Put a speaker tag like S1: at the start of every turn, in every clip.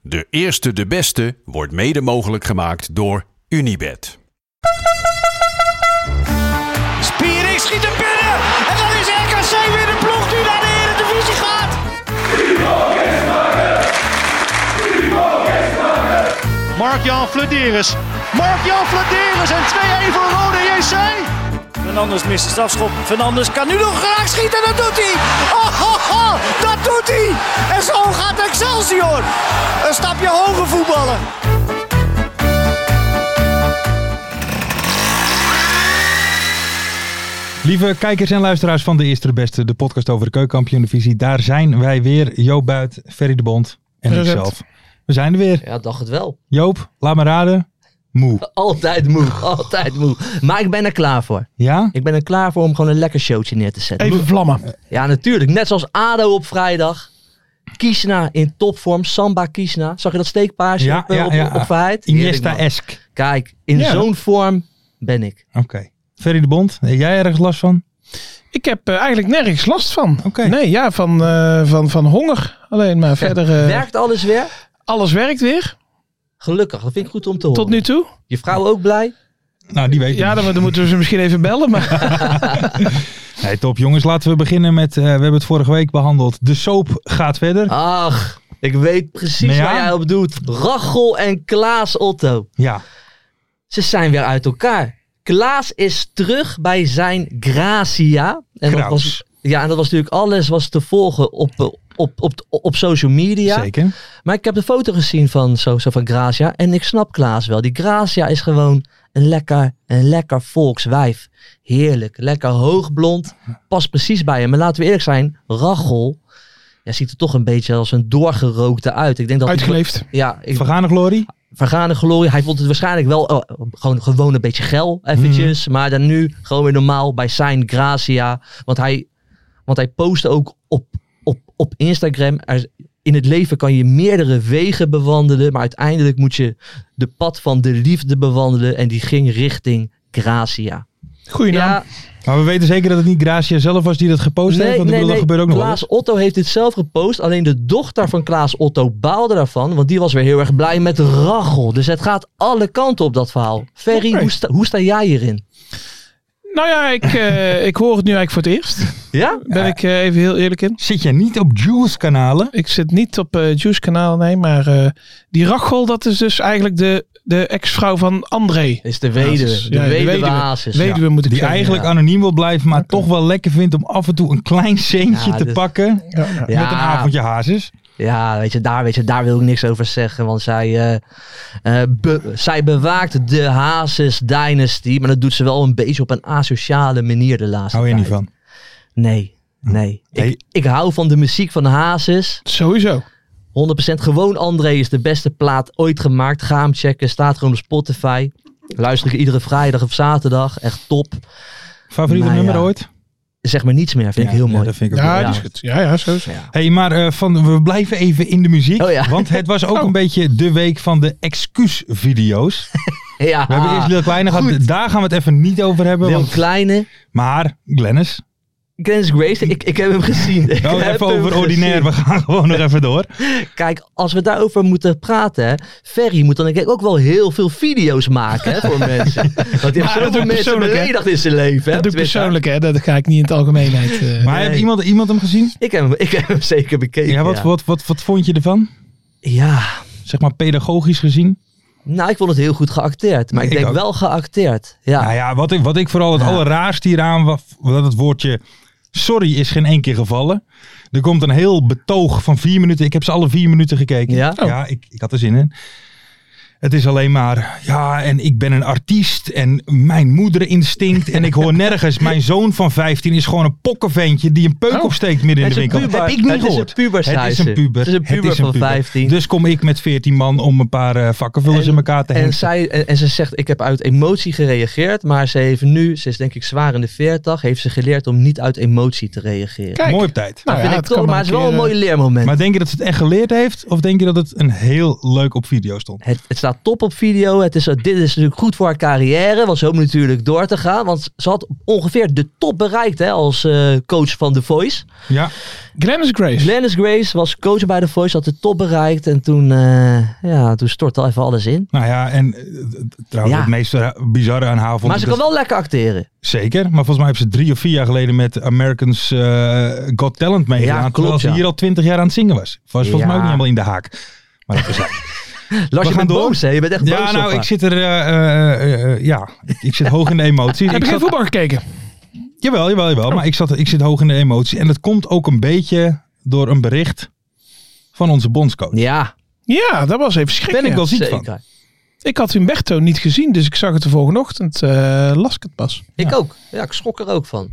S1: De eerste, de beste wordt mede mogelijk gemaakt door Unibed.
S2: Spiering schiet hem binnen. En dan is RKC weer de ploeg die naar de Eredivisie gaat. Mark-Jan Flederis. Mark-Jan Flederis en 2-1 voor Rode JC. Fernandes mist de strafschop. Fernandes kan nu nog graag schieten. Dat doet hij. Oh, oh, oh, dat doet hij. En zo gaat Excelsior. Een stapje hoger voetballen.
S3: Lieve kijkers en luisteraars van de Eerste de Beste, de podcast over de keukenkampioen-divisie. Daar zijn wij weer. Joop Buit, Ferry de Bond en
S4: Present.
S3: ikzelf. We zijn er weer.
S5: Ja, dacht het wel.
S3: Joop, laat me raden. Moe.
S5: Altijd moe, altijd moe. Maar ik ben er klaar voor.
S3: Ja?
S5: Ik ben er klaar voor om gewoon een lekker showtje neer te zetten.
S4: Even vlammen.
S5: Ja, natuurlijk. Net zoals ADO op vrijdag. Kiesna in topvorm. Samba Kiesna. Zag je dat steekpaasje
S3: Ja,
S5: op, eh,
S3: ja,
S5: op,
S3: ja.
S5: op Verheid? Heerlijk, man.
S3: Iniesta-esk.
S5: Kijk, in
S4: Ja.
S5: zo'n vorm ben ik.
S3: Oké. Ferry de Bond, heb jij ergens last van?
S4: Ik heb eh, eigenlijk nergens last van.
S3: Oké.
S4: Nee, ja, van, eh, van, van honger. Alleen maar verder. eh,
S5: Werkt alles weer?
S4: Alles werkt weer.
S5: Gelukkig. Dat vind ik goed om te horen.
S4: Tot nu toe.
S5: Je vrouw ook blij?
S3: Nou, die weet ik
S4: Ja,
S3: niet.
S4: dan, dan moeten we ze misschien even bellen. Maar
S3: Hey, top jongens, laten we beginnen met, eh, we hebben het vorige week behandeld. De soap gaat verder.
S5: Ah. Ach, ik weet precies
S4: Nou
S3: Maar ja.
S5: waar jij op doet. Rachel en Klaas Otto.
S3: Ja.
S5: Ze zijn weer uit elkaar. Klaas is terug bij zijn Gracia. En dat
S3: Kraus.
S5: was, ja, en dat was natuurlijk alles was te volgen op, eh, op, op, op social media.
S3: zeker.
S5: Maar ik heb de foto gezien van, zo, zo van Gracia. En ik snap Klaas wel. Die Gracia is gewoon een lekker, een lekker volkswijf. Heerlijk. Lekker hoogblond. Past precies bij hem. Maar laten we eerlijk zijn. Rachel ja, ziet er toch een beetje als een doorgerookte uit. Ik denk dat
S4: uitgeleefd.
S5: Ja, ik,
S3: Vergane glorie?
S5: vergane glorie. Hij vond het waarschijnlijk wel eh, gewoon, gewoon een beetje geil eventjes. Maar dan nu gewoon weer normaal bij zijn Gracia. Want hij, want hij postte ook op, op, op Instagram. Er, in het leven kan je meerdere wegen bewandelen. Maar uiteindelijk moet je de pad van de liefde bewandelen. En die ging richting Gracia.
S4: Goeie naam.
S5: Ja,
S3: Maar we weten zeker dat het niet Gracia zelf was die dat gepost heeft. Want ik bedoel, dat gebeurt ook nog wel
S5: Klaas Otto heeft dit zelf gepost. Alleen de dochter van Klaas Otto baalde daarvan. Want die was weer heel erg blij met Rachel. Dus het gaat alle kanten op dat verhaal. Ferry,
S4: Oké.
S5: hoe, sta, hoe sta jij hierin?
S4: Nou ja, ik, eh, ik hoor het nu eigenlijk voor het eerst.
S5: Ja?
S4: Ben ik eh, even heel eerlijk in.
S3: Zit jij niet op Jules kanalen?
S4: Ik zit niet op eh Juice kanaal, nee. Maar eh, die Rachel, dat is dus eigenlijk de, de ex-vrouw van André.
S5: Is de weduwe.
S4: Hazes.
S5: De
S4: Ja, de
S5: weduwe,
S4: weduwe.
S5: Hazes.
S4: Weduwe moet ik
S3: Die
S4: zeggen.
S3: eigenlijk
S5: ja.
S3: anoniem wil blijven, maar toch wel lekker vindt om af en toe een klein centje
S5: Ja,
S3: te
S5: dus-
S3: pakken.
S4: Ja, ja.
S5: Ja.
S3: Met een avondje hazes.
S5: Ja, weet je, daar, weet je, daar wil ik niks over zeggen. Want zij, eh, eh, be- zij bewaakt de Hazes Dynasty. Maar dat doet ze wel een beetje op een asociale manier de laatste
S3: Hou je niet
S5: tijd.
S3: van. Hm.
S5: Nee, nee.
S3: Nee.
S5: Ik, ik hou van de muziek van Hazes.
S4: Sowieso.
S5: 100% gewoon André is de beste plaat ooit gemaakt. Ga hem checken. Staat gewoon op Spotify. Luister ik iedere vrijdag of zaterdag. Echt top.
S3: Favoriete
S5: Nou ja,
S3: nummer ooit?
S5: Zeg maar niets meer. Vind
S3: Ja,
S5: ik heel
S3: ja,
S5: mooi.
S3: dat vind ik ook
S4: Ja,
S3: wel.
S4: die is goed. Ja, ja, sowieso.
S3: Hey, maar eh, van, we blijven even in de muziek.
S5: Oh ja.
S3: Want het was ook
S4: Oh.
S3: een beetje de week van de excuusvideo's.
S5: ja.
S3: We hebben eerst Lil Kleine gehad. Daar gaan we het even niet over hebben.
S5: Leon
S3: want-
S5: Kleine.
S3: maar Glennis.
S5: Glennis Grace. Ik, ik heb hem gezien. Ik
S3: Nou,
S5: heb
S3: even
S5: hem
S3: over ordinair. We
S5: gezien.
S3: gaan gewoon nog even door.
S5: Kijk, als we daarover moeten praten. Hè, Ferry moet dan denk ik ook wel heel veel video's maken hè, voor mensen. Want die heeft
S4: doe ik
S5: zoveel mensen
S4: persoonlijk, hè.
S5: beledigd in zijn leven. Hè,
S4: Dat
S5: op
S4: doe ik
S5: Twitter.
S4: persoonlijk, hè. Dat ga ik niet in het algemeenheid... eh,
S3: Maar heeft iemand, iemand hem gezien?
S5: Ik heb, hem, ik heb hem zeker bekeken.
S3: Ja, wat, Wat, wat, wat vond je ervan?
S5: ja.
S3: Zeg maar pedagogisch gezien?
S5: Nou, ik vond het heel goed geacteerd. Maar ik,
S3: Ik
S5: denk
S3: ook.
S5: wel geacteerd. Ja.
S3: Nou ja, wat ik, wat ik vooral het
S5: Ja.
S3: allerraarste hieraan was, dat het woordje sorry is geen één keer gevallen. Er komt een heel betoog van vier minuten. Ik heb ze alle vier minuten gekeken.
S5: Ja? Oh.
S3: ja ik, ik had er zin in. Het is alleen maar, ja, en ik ben een artiest en mijn moederinstinct en ik hoor nergens. Mijn zoon van 15 is gewoon een pokkenventje die een peuk
S4: Oh.
S3: opsteekt midden in
S5: Het
S3: de
S5: is een
S3: winkel.
S5: puber.
S3: Heb ik niet
S5: Het is een
S3: gehoord.
S5: puber,
S3: Het is een
S5: zei ze.
S3: puber.
S5: Het is een puber van 15.
S3: Dus kom ik met 14 man om een paar eh, vakkenvullers
S5: En-
S3: in elkaar te
S5: En,
S3: hengsten.
S5: zij, en, en ze zegt, ik heb uit emotie gereageerd, maar ze heeft nu, ze is denk ik zwaar in de 40, heeft ze geleerd om niet uit emotie te reageren.
S4: Kijk.
S3: Mooi op tijd.
S4: Nou
S5: Dat vind
S4: ja,
S5: ik
S4: kan
S5: toch, maar het is wel een
S4: keer, eh,
S5: mooi leermoment.
S3: Maar denk je dat ze het echt geleerd heeft? Of denk je dat het een heel leuk op video stond?
S5: het, het staat staat top op video. Het is, dit is natuurlijk goed voor haar carrière. Was hoop natuurlijk door te gaan. Want ze had ongeveer de top bereikt hè, als eh, coach van The Voice.
S3: Ja,
S4: eh, Glennis Grace.
S5: Glennis Grace was coach bij The Voice. Had de top bereikt. En toen, eh ja, toen stortte even alles in.
S3: nou ja, en eh, trouwens
S5: Ja.
S3: het meest eh, bizarre aan haar vond
S5: Maar
S3: ik dus-
S5: ze
S3: dat-
S5: kan wel lekker acteren.
S3: Zeker, maar volgens mij hebben ze drie of vier jaar geleden met Americans eh, Got Talent meegedaan.
S5: klopt,
S3: terwijl ze
S5: ja.
S3: hier al twintig jaar aan het zingen was. Was volgens mij ook
S5: Ja.
S3: niet helemaal in de haak. Maar dat is
S5: Lars,
S3: We
S5: je
S3: gaan
S5: bent
S3: door.
S5: boos hè. Je bent echt boos
S3: Ja,
S5: op
S3: nou,
S5: haar.
S3: ik zit er. eh, eh, eh, eh, ja, ik, ik zit hoog in de emoties.
S4: Heb
S3: ik
S4: je
S3: zat,
S4: geen voetbal gekeken?
S3: jawel, jawel, jawel. Maar ik, zat, ik zit hoog in de emoties. En dat komt ook een beetje door een bericht van onze bondscoach.
S5: Ja,
S4: Ja, dat was even schrik.
S3: ben ik
S4: ja.
S3: wel ziek
S5: zeker.
S3: van.
S4: Ik had Humberto niet gezien, dus ik zag het de volgende ochtend. eh las ik het pas.
S5: Ik ook. Ja, ik schrok er ook van.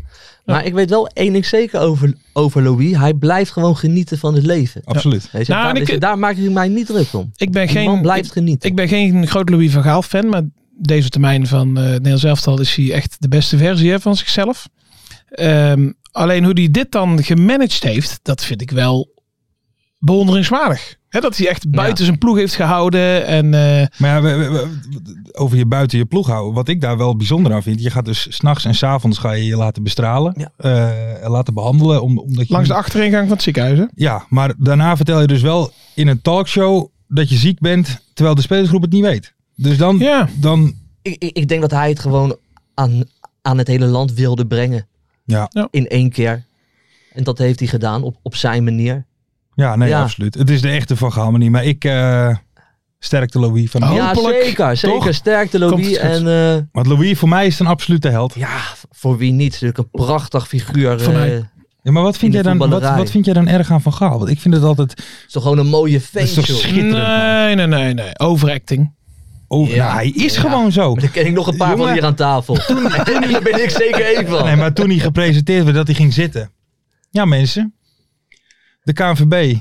S5: Maar ik weet wel één ding zeker over, over Louis. Hij blijft gewoon genieten van het leven.
S3: Absoluut.
S5: Weet je,
S4: Nou, en
S5: daar,
S4: ik-
S5: weet je, daar maak ik mij niet druk om.
S4: Ik ben
S5: Geen,
S4: geen,
S5: man blijft genieten.
S4: Ik ben geen groot Louis van Gaal fan, maar deze termijn van eh Nederlands elftal is hij echt de beste versie hè, van zichzelf. Ehm, alleen hoe hij dit dan gemanaged heeft, dat vind ik wel bewonderingswaardig. Hè, dat hij echt buiten zijn ploeg heeft gehouden. En, eh,
S3: Maar ja, we- we- we- over je buiten je ploeg houden. Wat ik daar wel bijzonder aan vind. Je gaat dus s'nachts en s'avonds ga je je laten bestralen.
S5: Ja.
S3: eh, laten behandelen. om- Omdat je
S4: langs de
S3: niet-
S4: achteringang van het ziekenhuis. Hè?
S3: Ja, maar daarna vertel je dus wel in een talkshow dat je ziek bent. Terwijl de spelersgroep het niet weet. Dus dan,
S4: Ja.
S3: dan
S5: Ik, ik, ik denk dat hij het gewoon aan, aan het hele land wilde brengen.
S3: Ja.
S4: Ja.
S5: In één keer. En dat heeft hij gedaan op, op zijn manier.
S3: Ja, nee,
S5: Ja.
S3: absoluut. Het is de echte Van Gaal manier. Maar ik eh sterkte Louis van
S4: Oh.
S3: Gaal.
S5: ja,
S4: Hopelijk,
S5: zeker. Zeker.
S4: toch?
S5: Sterkte
S4: Komt
S5: Louis.
S4: het goed.
S5: En eh,
S3: Want Louis voor mij is een absolute held.
S5: ja, voor wie niet. Natuurlijk een prachtig figuur.
S4: Voor mij.
S5: eh,
S3: Ja, maar wat vind, jij
S5: In de
S3: dan, wat,
S5: voetballerij.
S3: wat vind jij dan erg aan Van Gaal? Want ik vind het altijd...
S5: is toch gewoon een mooie
S3: is
S5: feest.
S3: toch
S5: joh.
S3: schitterend.
S4: Nee, nee, nee, nee. Overacting.
S3: Oh,
S5: Ja.
S3: nou, hij is
S5: Ja.
S3: gewoon zo.
S5: Maar dan ken ik nog een paar
S3: Jongen.
S5: van hier aan tafel. En daar ben ik zeker één van.
S3: Nee, maar toen hij gepresenteerd werd dat hij ging zitten. Ja, mensen. De KNVB.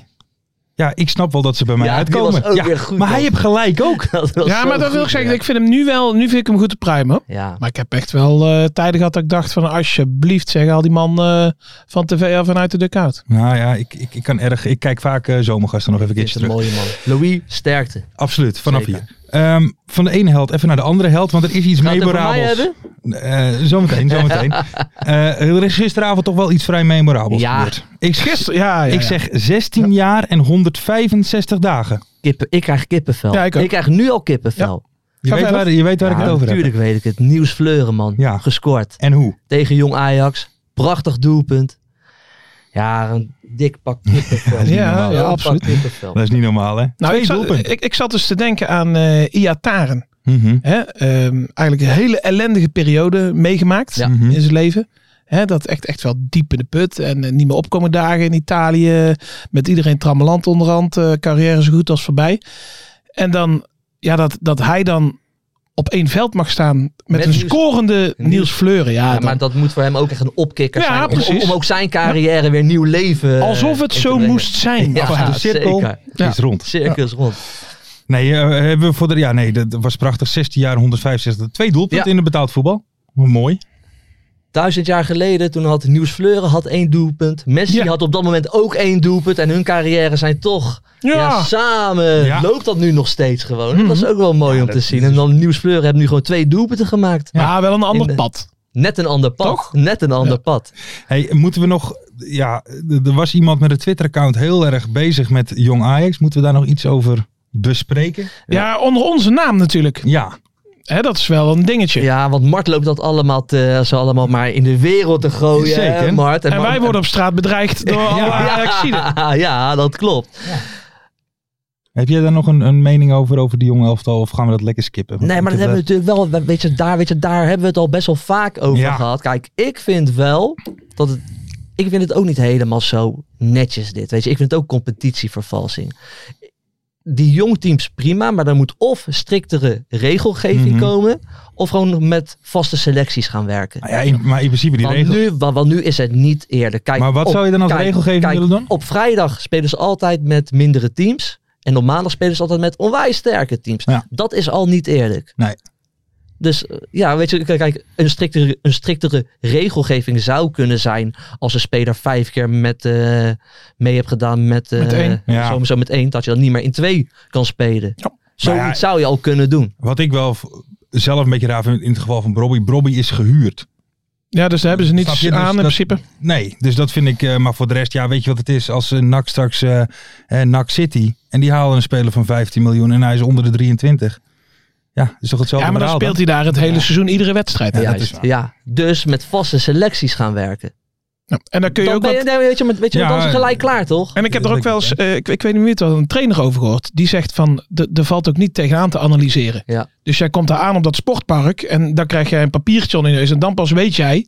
S3: Ja, ik snap wel dat ze bij mij
S5: Ja, die
S3: uitkomen.
S5: was ook
S3: ja,
S5: weer goed,
S3: maar
S5: man.
S3: hij heeft gelijk ook.
S5: Dat was
S4: Ja,
S5: zo
S4: maar dat wil
S5: goed,
S4: ik zeggen.
S5: ja.
S4: Ik vind hem nu wel, nu vind ik hem goed te pruimen. hoor.
S5: Ja.
S4: Maar ik heb echt wel eh, tijden gehad dat ik dacht van alsjeblieft zeg al die man eh, van tv af en uit de dugout.
S3: Nou ja, ik, ik, ik kan erg... Ik kijk vaak eh, zomergasten nog even een
S5: Dit is
S3: keertje
S5: een
S3: terug.
S5: mooie man. Louis, sterkte. Gaat
S3: Absoluut, vanaf
S5: Zeker.
S3: hier. Ehm, van de ene held even naar de andere held, want er is iets
S5: het over mij
S3: memorabels.
S5: hebben?
S3: Eh, zometeen, zometeen. Eh, er is gisteravond toch wel iets vrij memorabels
S5: Ja.
S3: gebeurd. Ik,
S4: Gisteren, ja, ja,
S3: ik
S4: ja.
S3: zeg 16 jaar en 165 dagen.
S5: Kippen, ik krijg kippenvel.
S4: Ja, ik ook.
S5: krijg nu al kippenvel.
S3: Je
S4: Ga
S3: weet,
S4: verder.
S3: waar, je weet waar ik
S5: Ja,
S3: het over heb.
S5: natuurlijk weet ik het. Nieuws Fleuren, man.
S3: Ja.
S5: Gescoord.
S3: En hoe?
S5: Tegen Jong Ajax. Prachtig doelpunt. Ja, een dik pak kippenvel.
S4: Ja,
S5: Een
S4: ja,
S5: pak
S4: absoluut.
S5: kippenvel.
S3: Dat is niet normaal, hè?
S4: Nou,
S3: Twee
S4: ik zat,
S3: doelpunten.
S4: ik, ik zat dus te denken aan eh Iataren.
S3: Mhm.
S4: Hè? Ehm, eigenlijk een hele ellendige periode meegemaakt
S5: Ja.
S3: Mhm.
S4: in zijn leven. Hè? Dat echt, echt wel diep in de put. En eh, niet meer opkomen dagen in Italië. Met iedereen trammeland onderhand. eh, carrière zo goed als voorbij. En dan, ja, dat, dat hij dan op één veld mag staan met,
S5: Met
S4: een
S5: Niels-
S4: scorende Niels, Fleuren. Ja,
S5: Ja,
S4: dan-
S5: maar dat moet voor hem ook echt een opkikker
S4: Ja,
S5: zijn. om- Om,
S4: precies.
S5: om ook zijn carrière weer nieuw leven eh,
S4: Alsof het
S5: in te
S4: zo
S5: brengen.
S4: moest zijn.
S5: Ja,
S4: Of hij-
S3: de cirkel.
S5: zeker.
S3: Die is rond.
S5: Circus rond.
S3: Nee, eh, hebben we voor de, ja, nee, dat was prachtig. 16 jaar, 165. Twee doelpunten
S5: Ja.
S3: in de betaald voetbal. Hoe mooi.
S5: Duizend jaar geleden, toen had Nieuws Fleuren had één doelpunt. Messi
S4: Ja.
S5: had op dat moment ook één doelpunt. En hun carrières zijn toch ja. samen.
S3: Ja.
S5: Loopt dat nu nog steeds gewoon. Dat
S4: Mhm.
S5: is ook wel mooi om te zien. En dan Nieuws Fleuren hebben nu gewoon twee doelpunten gemaakt.
S4: Maar wel een ander
S5: In-
S4: pad.
S5: Net een ander pad.
S4: Toch?
S5: Net een ander pad.
S3: Hey, moeten we nog... Ja, d- er was iemand met een Twitter-account heel erg bezig met Jong Ajax. Moeten we daar nog iets over bespreken?
S4: Ja, onder onze naam natuurlijk.
S3: Ja.
S4: Hè, dat is wel een dingetje.
S5: Ja, want Mart loopt dat allemaal, te, ze allemaal maar in de wereld te gooien. hè,
S3: Zeker.
S5: Mart.
S4: En
S5: Mart-
S4: wij worden op straat bedreigd door alle Ajaxiden.
S5: ja, ja, dat klopt.
S3: Heb jij daar nog een, een mening over, over die jonge elftal? Of gaan we dat lekker skippen? Want
S5: Nee, maar
S3: ik
S5: dat
S3: heb
S5: hebben we natuurlijk wel. we- Weet je, daar, weet je, daar hebben we het al best wel vaak over
S3: Ja.
S5: gehad. Kijk, ik vind wel dat het. Ik vind het ook niet helemaal zo netjes dit. Weet je, ik vind het ook competitievervalsing. Die jongteams prima, maar er moet of striktere regelgeving
S3: Mhm.
S5: komen, of gewoon met vaste selecties gaan werken.
S3: Nou ja, in- maar in principe die
S5: Want
S3: regel.
S5: nu, wa- want nu is het niet eerder. Kijk,
S3: Maar wat
S5: op-
S3: zou je dan als
S5: kijk,
S3: regelgeving
S5: kijk,
S3: willen doen?
S5: Op vrijdag spelen ze altijd met mindere teams. En op maandag spelen ze altijd met onwijs sterke teams.
S3: Ja.
S5: Dat is al niet eerlijk.
S3: Nee.
S5: Dus eh, ja, weet je, kijk, kijk, een, striktere, een striktere regelgeving zou kunnen zijn als een speler vijf keer met, eh, mee hebt gedaan met, eh,
S4: Met één.
S3: Ja.
S5: Zo, zo met één, dat je dan niet meer in twee kan spelen.
S4: Ja.
S5: Zoiets
S3: Maar ja,
S5: zou je al kunnen doen.
S3: Wat ik wel v- zelf een beetje raar vind in het geval van Brobby. Brobby is gehuurd.
S4: Ja, dus daar hebben ze
S3: Snap
S4: niets
S3: je? Dus
S4: aan in
S3: dat-
S4: principe.
S3: Nee, dus dat vind ik. eh, maar voor de rest, ja, weet je wat het is? Als eh, NAC straks eh eh, NAC City. En die halen een speler van 15 miljoen en hij is onder de 23. Ja, dat is toch hetzelfde
S4: Ja, maar dan
S3: verhaal
S4: speelt hij daar het hele seizoen iedere wedstrijd.
S3: Ja, dat is
S5: Juist.
S3: waar.
S5: Ja, dus met vaste selecties gaan werken.
S4: Ja. Nou, En dan kun je
S5: Dan
S4: ook
S5: ben
S4: wat
S5: je, nee, weet je, maar- weet je
S3: Ja,
S5: dan is het gelijk klaar, toch?
S4: En ik heb
S3: Dat
S4: er ook
S3: denk
S4: wel
S3: ik,
S4: eens, eh, ik, ik weet niet meer wat een trainer over gehoord. Die zegt van, de- er valt ook niet tegenaan te analyseren.
S5: Ja.
S4: Dus jij komt daar aan op dat sportpark en dan krijg jij een papiertje onder je neus. En dan pas weet jij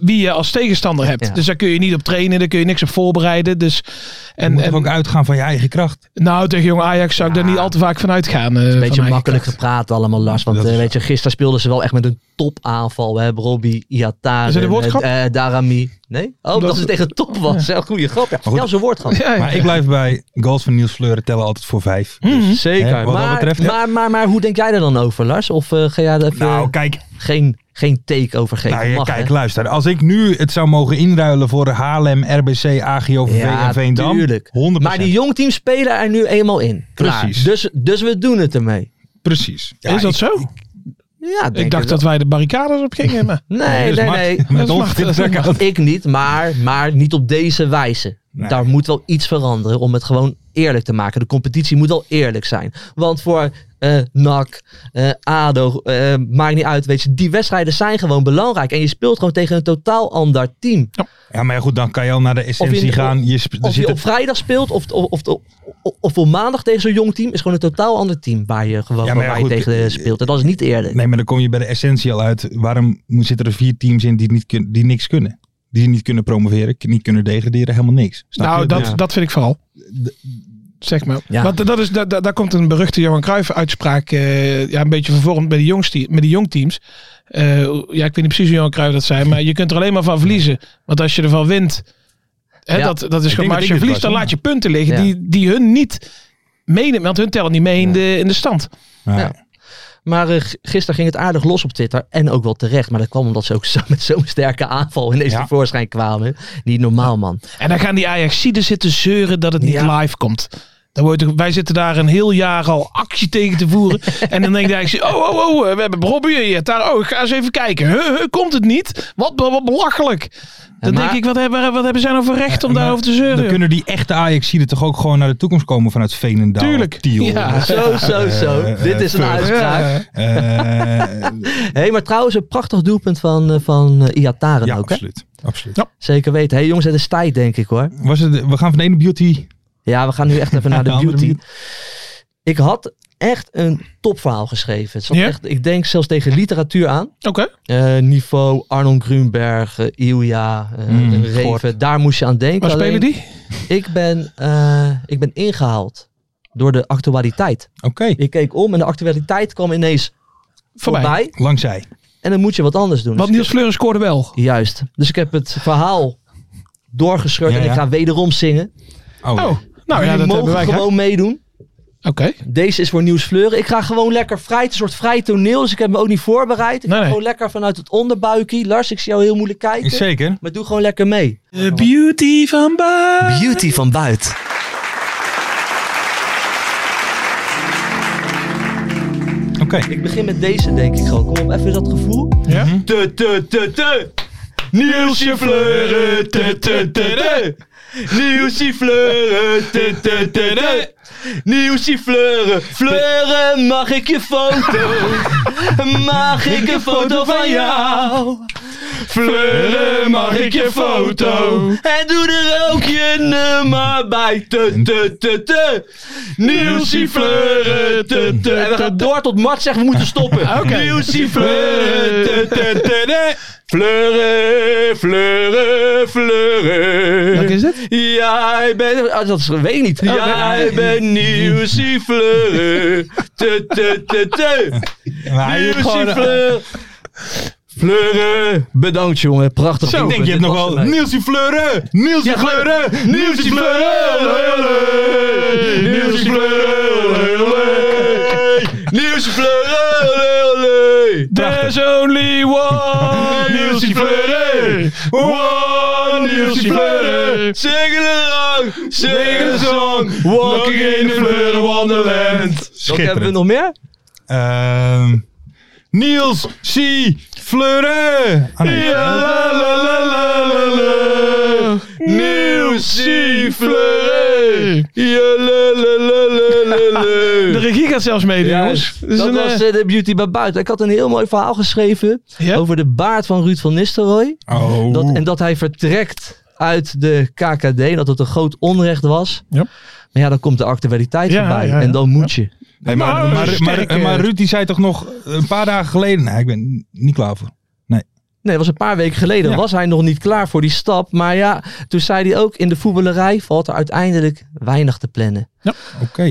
S4: wie je als tegenstander hebt.
S5: Ja.
S4: Dus daar kun je niet op trainen, daar kun je niks op voorbereiden. Dus,
S3: En,
S4: en,
S3: moet toch
S4: en
S3: ook uitgaan van je eigen kracht.
S4: nou, tegen jong Ajax zou ik daar niet al te vaak van uitgaan. eh,
S5: Een
S4: van
S5: beetje
S4: eigen
S5: makkelijk
S4: kracht.
S5: gepraat allemaal, Lars. Want
S3: Dat
S5: eh,
S3: is
S5: weet je, gisteren speelden ze wel echt met een topaanval. We hebben Robbie, Iataren,
S4: Is het een woordgrap?
S5: eh, eh, Darami. Nee? Oh, dat,
S4: Dat-
S5: het tegen top was. Ja. Goede grap. Ja,
S3: goed.
S5: ja zo'n woordgrap.
S4: Ja, ja.
S3: Maar ik blijf bij goals van Niels Fleuren tellen altijd voor vijf. Dus,
S5: Zeker.
S3: Mhm. Hè, wat dat
S5: maar,
S3: betreft, hè?
S5: maar, maar, maar, hoe denk jij er dan over, Lars? Of eh, ga jij er even
S3: Nou, kijk,
S5: geen, geen take over geven?
S3: nou, ja,
S5: Mag,
S3: kijk
S5: hè?
S3: luister. Als ik nu het zou mogen inruilen voor Haarlem, RBC, AGOVV
S5: Ja,
S3: en Veendam.
S5: tuurlijk.
S3: 100%.
S5: Maar die jongteams spelen er nu eenmaal in. Klaar.
S3: Precies.
S5: Dus, dus we doen het ermee.
S3: Precies. Ja,
S4: is dat
S3: ik-
S4: zo?
S5: Ja,
S4: ik dacht dat wij de barricades op gingen. Maar
S5: Nee,
S3: dus
S5: nee,
S3: Mart-
S5: nee.
S3: Met
S4: Dat
S3: ons
S4: mag-
S3: dit
S4: dat
S3: is ook
S4: mag.
S3: altijd-
S5: Ik niet, maar, maar niet op deze wijze.
S3: Nee.
S5: Daar moet wel iets veranderen om het gewoon eerlijk te maken. De competitie moet wel eerlijk zijn. Want voor eh NAC, eh, ADO, eh, maakt niet uit. Weet je, die wedstrijden zijn gewoon belangrijk. En je speelt gewoon tegen een totaal ander team.
S3: Ja, maar ja, goed, dan kan je al naar de essentie
S5: Of in-
S3: gaan. Je, sp- er
S5: Of je
S3: zitten-
S5: op vrijdag speelt of, of, of, of, of op maandag tegen zo'n jong team. Is gewoon een totaal ander team waar je gewoon
S3: Ja, maar ja,
S5: waar je
S3: goed,
S5: tegen
S3: eh,
S5: speelt. En dat is niet eerlijk.
S3: Nee, maar dan kom je bij de essentie al uit. Waarom moet- zitten er vier teams in die, niet kun- die niks kunnen? Die niet kunnen promoveren, k- niet kunnen degraderen, helemaal niks. Snap
S4: Nou,
S3: je?
S4: dat,
S3: Dus-
S4: dat vind ik vooral. Zeg maar.
S5: Ja.
S4: Want dat is, da- da- daar komt een beruchte Johan Cruijff uitspraak eh, ja, een beetje vervormd bij de, jongste, met de jongteams. Eh, ja, ik weet niet precies hoe Johan Cruijff dat zei, maar je kunt er alleen maar van verliezen. Want als je ervan wint, hè,
S5: Ja.
S4: dat, dat is gewoon,
S3: denk
S4: maar
S3: dat
S4: als
S3: ik
S4: je
S3: dit
S4: verliest,
S3: was,
S4: dan
S3: ja.
S4: laat je punten liggen
S5: Ja.
S4: die, die hun niet menen. Want hun tellen niet mee in, de, in de stand.
S3: Nee.
S5: Ja. Maar eh, g- gisteren ging het aardig los op Twitter. En ook wel terecht. Maar dat kwam omdat ze ook zo, met zo'n sterke aanval ineens
S3: Ja.
S5: tevoorschijn kwamen. Niet normaal, man.
S4: En dan gaan die Ajaxiden zitten zeuren dat het niet
S5: Ja.
S4: live komt. Dan wordt er- wij zitten daar een heel jaar al actie tegen te voeren. en dan denkt de Ajax, oh, oh, oh, we hebben Robbie hier. Daar, oh, ga eens even kijken. Huh, huh, komt het niet? Wat, be- wat belachelijk. Dan
S5: maar-
S4: denk ik, wat hebben, wat hebben zij nou voor recht om
S3: Maar
S4: daarover te zeuren?
S3: Dan
S4: joh?
S3: kunnen die echte ajax toch ook gewoon naar de toekomst komen vanuit Veenendaal.
S4: Tuurlijk.
S3: Tiel.
S4: Ja.
S5: Zo, zo, zo.
S3: Eh, eh,
S5: Dit is een
S3: Furk.
S5: uitspraak.
S4: Ja.
S3: Eh,
S5: Hé, hey, maar trouwens een prachtig doelpunt van, eh, van eh, Iataren
S3: ja,
S5: ook, hè?
S3: absoluut. absoluut.
S5: Zeker weten. Hé hey, jongens, het is tijd, denk ik, hoor.
S3: Was het, we gaan van de ene beauty.
S5: Ja, we gaan nu echt even naar de
S3: Andere
S5: beauty.
S3: beauty.
S5: Ik had echt een topverhaal geschreven. Het zat
S4: Ja?
S5: echt, ik denk zelfs tegen literatuur aan.
S4: Oké.
S5: Eh, niveau, Arnold Grunberg, eh, Ilja, eh,
S3: Mm,
S5: Reven.
S3: Gort.
S5: Daar moest je aan denken.
S4: Waar
S5: Alleen-
S4: spelen die?
S5: Ik ben, eh, ik ben ingehaald door de actualiteit.
S3: Oké,
S5: Ik keek om en de actualiteit kwam ineens
S4: Voorbij.
S5: voorbij.
S3: langs zij.
S5: En dan moet je wat anders doen.
S4: Want
S5: Dus
S4: Niels Fleuren scoorde wel.
S5: ik- Juist. Dus ik heb het verhaal doorgescheurd
S3: Ja,
S5: en ik
S3: ja.
S5: ga wederom zingen.
S3: Oh,
S4: Oh, nou ja,
S5: Jullie
S4: dat hebben
S5: mogen
S4: wij
S5: gewoon
S4: gehad.
S5: meedoen.
S4: Oké.
S5: Deze is voor Nieuws Fleuren. Ik ga gewoon lekker vrij, het is een soort vrij toneel. Dus ik heb me ook niet voorbereid. Ik
S4: Nee,
S5: ga
S4: nee.
S5: gewoon lekker vanuit het onderbuikie. Lars, ik zie jou heel moeilijk kijken.
S3: zeker.
S5: Maar doe gewoon lekker mee.
S4: De beauty van Baar.
S5: Beauty van buiten.
S3: Oké.
S5: Ik begin met deze, denk ik gewoon. Kom op, even dat gevoel.
S4: Ja.
S5: Te, te, te, te. Nieuwsje fleuren, te, te, te, te. Nieuwsje fleuren, te, te, te, te. Nieuwsje fleuren, fleuren, mag ik je foto? Mag ik een foto van jou? Fleuren, mag ik je foto? En doe er ook je nummer bij, te, te, te, te. Nieuwsie fleuren, te, te. En we gaan door tot Mart zegt we moeten stoppen. Oké. Nieuwsie fleuren, te, te, te, te. Fleuren, fleuren, fleuren.
S4: Welke is het?
S5: Jij bent... ah, dat is, weet ik
S3: Oh,
S5: niet. Jij bent Nieuwsie fleuren. Te, te, te, te.
S3: Maar hij is gewoon- eh,
S5: Nieuwsie fleuren. Fleuren. Bedankt jongen, prachtig.
S3: Ik denk je hebt nog wel Nielsie Fleuren, Nielsie
S5: Ja,
S3: Fleuren, Nielsie Fleuren, Nielsie Fleuren.
S5: Nieuwsje fleuren.
S3: prachtig.
S4: There's only one Nielsie Fleury. One Nielsie Fleury.
S3: Zing along,
S4: Sing a song, walking in the Fleury wonderland.
S5: Welke hebben we nog meer?
S3: Ehm, Niels C. Fleuren. Ah, nee.
S4: Ja, la, la, la, la, la, la. Nielsie Fleury. Ja, la, la, la, la, la, la. De regie gaat zelfs meedoen, jongens. Dus
S5: dat
S4: een,
S5: was
S4: eh,
S5: eh, de beauty bij buiten. Ik had een heel mooi verhaal geschreven
S4: Ja?
S5: over de baard van Ruud van Nistelrooy.
S3: Oh.
S5: Dat, en dat hij vertrekt uit de KKD. en Dat het een groot onrecht was.
S4: Ja.
S5: Maar ja, dan komt de actualiteit
S4: Ja,
S5: voorbij.
S4: ja, ja.
S5: En dan moet je.
S3: Hey, maar,
S4: Nou,
S3: maar, maar,
S4: sterk,
S3: maar,
S4: eh.
S3: maar Ruud die zei toch nog een paar dagen geleden... Nee, ik ben niet klaar voor.
S5: Nee, dat was een paar weken geleden.
S3: Ja.
S5: Was hij nog niet klaar voor die stap. Maar ja, toen zei hij ook... In de voetballerij valt er uiteindelijk weinig te plannen.
S3: Oké.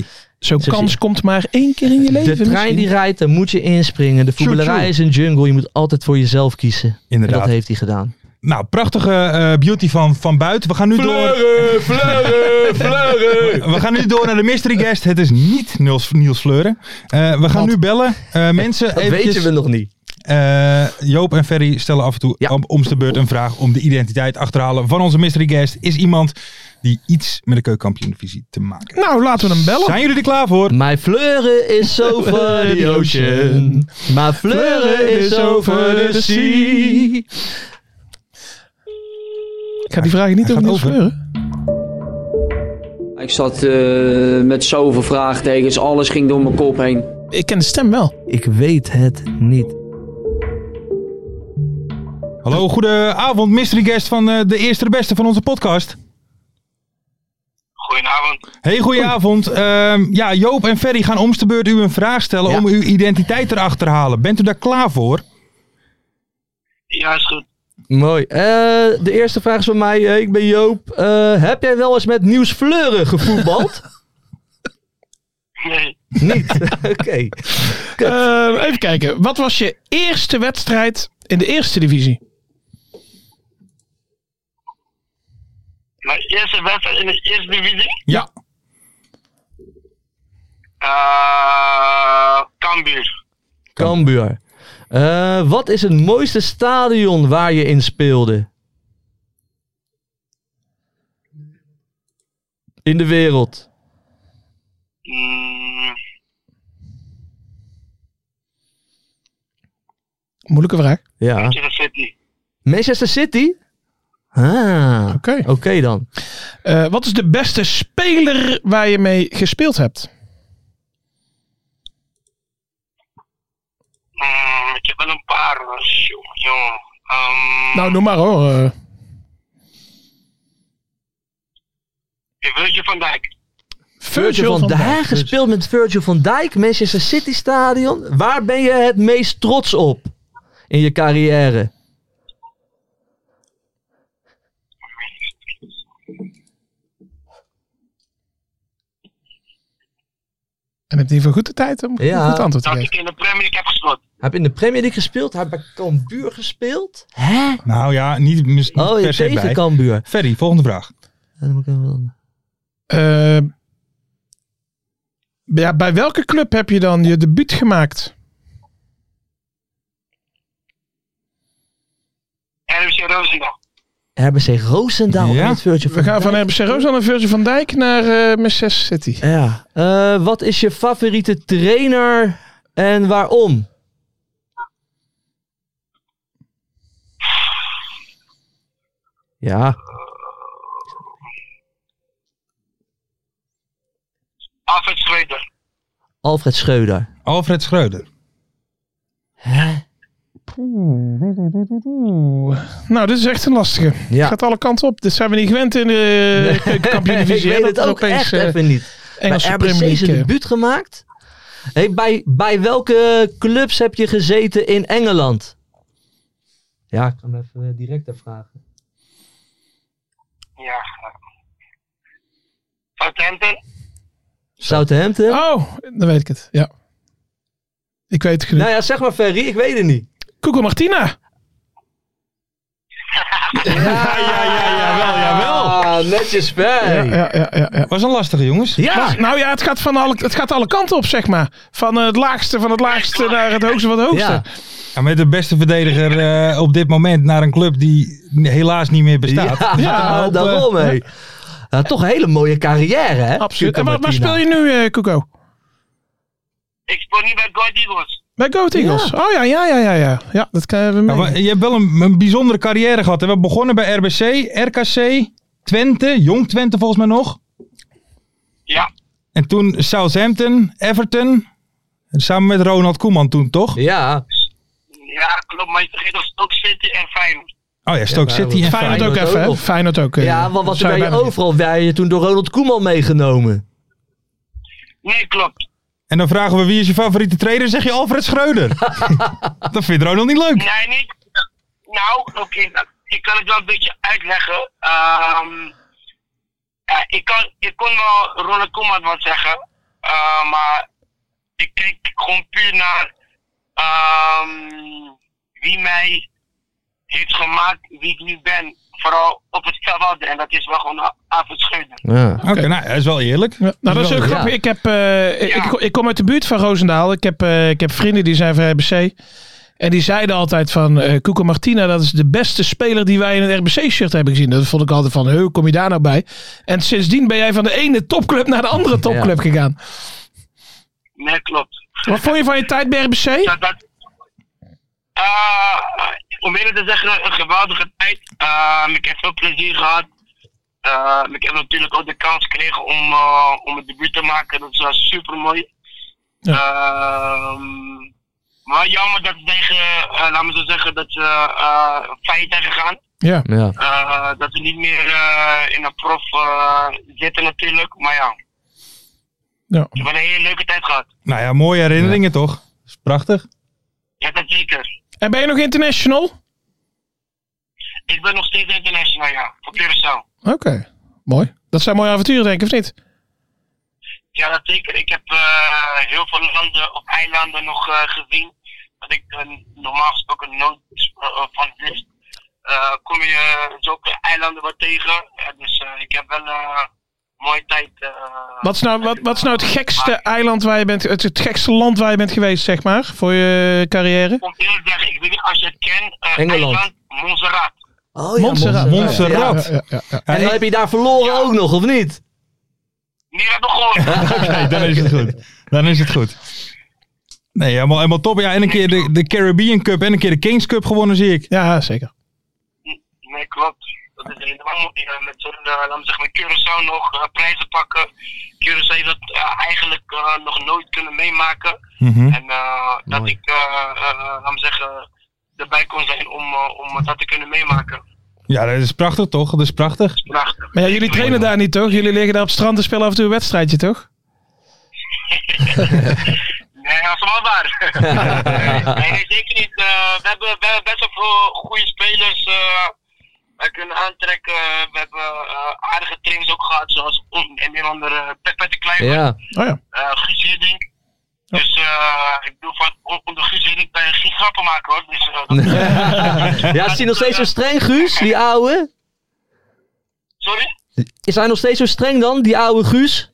S5: Zo
S4: Zo'n
S5: zie
S4: kans komt maar één keer in je
S5: De
S4: leven.
S5: trein
S4: misschien.
S5: die rijdt, daar moet je inspringen. De voetballerij
S3: tjoe.
S5: is een jungle. Je moet altijd voor jezelf kiezen. En
S3: Inderdaad.
S5: dat heeft hij gedaan.
S3: Nou, prachtige eh, beauty van, van buiten. We gaan, nu door,
S2: Fleuren, fleuren, fleuren.
S3: we gaan nu door naar de mystery guest. Het is niet Niels, Niels Fleuren. Eh, we gaan nu bellen. Eh, mensen,
S5: Dat
S3: eventjes,
S5: weten we nog niet.
S3: Eh, Joop en Ferry stellen af en toe
S5: Ja.
S3: om, omste de beurt een vraag om de identiteit achterhalen van onze mystery guest. Is iemand die iets met de keukenkampioenvisie te maken heeft.
S4: Nou, laten we hem bellen.
S3: Zijn jullie er klaar voor?
S5: Mijn fleuren is over the ocean. Mijn fleuren is over the sea.
S4: Ik ga die vragen niet
S3: Hij
S4: over
S3: gaat
S4: Niels
S3: over.
S4: Fleuren.
S6: Ik zat eh, met zoveel vraagtekens, alles ging door mijn kop heen.
S4: Ik ken de stem wel.
S5: Ik weet het niet.
S3: Hallo, goedenavond mystery guest van eh, de eerste de beste van onze podcast.
S7: Goedenavond.
S3: Hey, goedenavond. Ehm, ja, Joop en Ferry gaan omste beurt u een vraag stellen
S5: Ja.
S3: om uw identiteit erachter te halen. Bent u daar klaar voor?
S7: Ja, is goed.
S5: Mooi. Eh, de eerste vraag is van mij. Eh, ik ben Joop. Eh, heb jij wel eens met Nieuws Fleuren gevoetbald?
S7: Nee,
S5: niet. Oké.
S4: Eh, even kijken. Wat was je eerste wedstrijd in de eerste divisie?
S7: mijn eerste wedstrijd in de eerste divisie?
S3: Ja.
S7: eh Cambuur.
S5: Cambuur. Eh, wat is het mooiste stadion waar je in speelde? In de wereld.
S7: Mm,
S4: Moeilijke vraag.
S5: Ja.
S7: Manchester City.
S5: Manchester City? Ah. Oké
S4: Oké.
S5: dan.
S4: Eh, wat is de beste speler waar je mee gespeeld hebt?
S7: Mm, ik heb wel een paar. Jongen. Jongen. Ehm,
S4: Nou, noem maar hoor. eh.
S7: Virgil van Dijk.
S5: Virgil van Dijk. dus. Gespeeld met Virgil van Dijk. Manchester City Stadion. Waar ben je het meest trots op? In je carrière.
S4: En heb je voor goed de tijd om
S5: Ja.
S4: een goed antwoord te
S7: Dat
S4: geven?
S7: ik in de Premier League heb gespeeld.
S5: Heb in de Premier League gespeeld. Heb bij Cambuur gespeeld. Hè?
S3: Nou ja, niet, mis- niet
S5: Oh, je
S3: per se
S5: tegen
S3: bij.
S5: Cambuur.
S3: Ferry, volgende vraag.
S5: Ja, dan moet ik even wat-
S4: Eh, ja, bij welke club heb je dan je debuut gemaakt?
S7: RFC Roosendaal.
S5: RBC Roosendaal.
S3: Ja?
S5: met Virgil
S4: We gaan van
S5: Dijk.
S4: RBC Roos aan Virgil van Dijk naar eh Manchester City.
S5: Ja. Eh, wat is je favoriete trainer en waarom? Ja,
S7: Alfred Schreuder.
S5: Alfred Scheuder.
S3: Alfred Schreuder.
S4: Oeh. Nou, dit is echt een lastige.
S5: Ja.
S4: Gaat alle kanten op. Dit zijn we niet gewend in de keukenkampioen-divisie.
S5: ik
S4: hè,
S5: weet het
S4: er
S5: ook echt
S4: eh,
S5: even niet.
S4: Engelse
S5: bij RBC
S4: Premier
S5: is een
S4: League. eh,
S5: debuut gemaakt. Hey, bij, bij welke clubs heb je gezeten in Engeland? Ja, ik kan hem even eh, direct daar vragen.
S7: Ja. Southampton.
S5: Southampton?
S4: Oh, dan weet ik het. Ja. Ik weet het genoeg.
S5: Nou ja, zeg maar Ferry, ik weet het niet.
S4: Koeko Martina.
S5: Ja, ja, ja, jawel, jawel. Ah, netjes Ferry.
S4: Ja, ja, ja, ja.
S3: Was een lastige, jongens.
S5: Ja.
S4: Was- nou ja, het gaat, van alle, het gaat alle kanten op, zeg maar. Van eh, het laagste van het laagste naar het hoogste van het hoogste.
S5: Ja.
S3: Ja, met de beste verdediger eh, op dit moment naar een club die helaas niet meer bestaat.
S5: Ja,
S3: Dus daar hopen-
S4: eh,
S5: daarom hé. Ja, toch een hele mooie carrière, hè?
S4: Absoluut.
S5: Cuca
S4: En waar, waar
S5: Martina.
S4: speel je nu, eh Cuco?
S7: Ik speel niet bij God Eagles.
S4: Bij Go Ahead Eagles. Oh ja, ja, ja, ja, ja. Ja, dat kunnen we
S3: Ja,
S4: mee.
S3: maar je hebt wel een, een bijzondere carrière gehad. hè. We hebben begonnen bij RBC, RKC, Twente, Jong Twente volgens mij nog.
S7: Ja,
S3: En toen Southampton, Everton. En Samen met Ronald Koeman toen, toch?
S5: Ja,
S7: ja, klopt. Maar je vergeet ons ook City en Feyenoord.
S3: Oh ja, Stoke
S5: Ja,
S3: City en
S5: maar-
S4: Feyenoord
S3: Feyenoord.
S4: ook
S5: Feyenoord
S4: even, hè?
S5: ook.
S4: Feyenoord ook. eh,
S5: ja want
S4: dat
S5: wat
S4: zou
S5: ben
S4: je
S5: je
S4: bijna
S5: overal? Wij je toen door Ronald Koeman meegenomen.
S7: Nee, klopt.
S3: En dan vragen we wie is je favoriete trainer? Dan zeg je Alfred Schreuder. dat vindt Ronald niet leuk.
S7: Nee, niet. Nou, oké. nou, ik kan het wel een beetje uitleggen. Ehm, ja, ik, kan, ik kon wel Ronald Koeman wat zeggen. eh, maar ik kijk gewoon puur naar ehm, wie mij heeft gemaakt wie ik nu ben. Vooral op het veld. En dat is wel gewoon Avond Scheuder.
S5: Ja.
S3: Oké, nou, dat is wel eerlijk.
S4: Ja, nou, dat is
S3: wel
S4: ook
S5: Ja.
S4: grappig. Ik, heb, eh, ik, ik, ik kom uit de buurt van Roosendaal. Ik heb, eh, ik heb vrienden die zijn van RBC. En die zeiden altijd van eh Cuco Martina, dat is de beste speler die wij in het RBC-shirt hebben gezien. Dat vond ik altijd van, hoe kom je daar nou bij? En sindsdien ben jij van de ene topclub naar de andere topclub gegaan.
S7: Nee, klopt.
S4: Wat vond je van je tijd bij RBC?
S7: dat, dat, Ah, om eerlijk te zeggen, een geweldige tijd. Ehm, ik heb veel plezier gehad. Ehm, ik heb natuurlijk ook de kans gekregen om, eh, om het debuut te maken. Dat was super mooi. maar jammer dat we tegen, eh, laten we zo zeggen, dat we eh feit zijn gegaan.
S4: Ja.
S5: Ja.
S7: Eh, dat we niet meer eh, in de prof eh, zitten natuurlijk. Maar ja,
S4: ja.
S7: we hebben een hele leuke tijd gehad.
S3: Nou ja, mooie herinneringen toch? Dat is prachtig.
S7: Ja, dat zeker.
S4: En ben je nog international?
S7: Ik ben nog steeds international, ja. Voor Curaçao.
S4: Oké, mooi. Dat zijn mooie avonturen, denk ik, of niet?
S7: Ja, dat zeker. Ik heb eh, heel veel landen op eilanden nog eh, gezien. Wat ik eh, normaal gesproken nooit eh, eh, van wist. Eh, kom je zulke eilanden wat tegen. Ja, dus eh, ik heb wel eh, een mooie tijd. eh,
S4: Wat is nou, wat, wat is nou het gekste eiland waar je bent, het, het gekste land waar je bent geweest, zeg maar, voor je carrière?
S7: Om eerlijk te zeggen, ik weet niet als je het kent. eh,
S5: Engeland.
S7: Eiland Montserrat.
S5: Oh, ja,
S4: Montserrat.
S3: Montserrat.
S4: Ja, ja, ja, ja.
S5: En dan heb je daar verloren ook nog, of niet?
S7: Nee, dat begon.
S3: Nee, dan is het goed. Dan is het goed. Nee, helemaal, helemaal top. Ja, en een keer de, de Caribbean Cup en een keer de Kings Cup gewonnen, zie ik.
S4: ja zeker.
S7: Nee, klopt. Dat is helemaal mooi. Ja, met zo'n, eh, laten we zeggen, met Curaçao nog eh, prijzen pakken. Curaçao heeft dat eh, eigenlijk eh, nog nooit kunnen meemaken.
S3: Mhm.
S7: En eh, dat
S5: Mooi.
S7: ik, eh eh, laten we zeggen, erbij kon zijn om, eh, om dat te kunnen meemaken.
S3: Ja, dat is prachtig toch? Dat is prachtig.
S7: Prachtig.
S4: Maar ja, jullie trainen daar niet, toch? Jullie liggen daar op het strand en spelen af en toe een wedstrijdje, toch?
S7: Nee, dat is wel waar. nee, nee, zeker niet. Eh, we hebben we hebben best wel veel goede spelers eh, eh, kunnen aantrekken. We hebben eh, aardige trainings ook gehad, zoals on- en een andere Pet Pet de Kleiber.
S5: Ja.
S4: Oh ja.
S7: eh Guus Hiddink. Dus eh, ik bedoel, van, on- onder Guus Hiddink kan je geen grappen maken hoor. Dus, eh, dat-
S5: ja, is hij nog steeds zo streng, Guus, die ouwe?
S7: sorry?
S5: Is hij nog steeds zo streng dan, die ouwe Guus?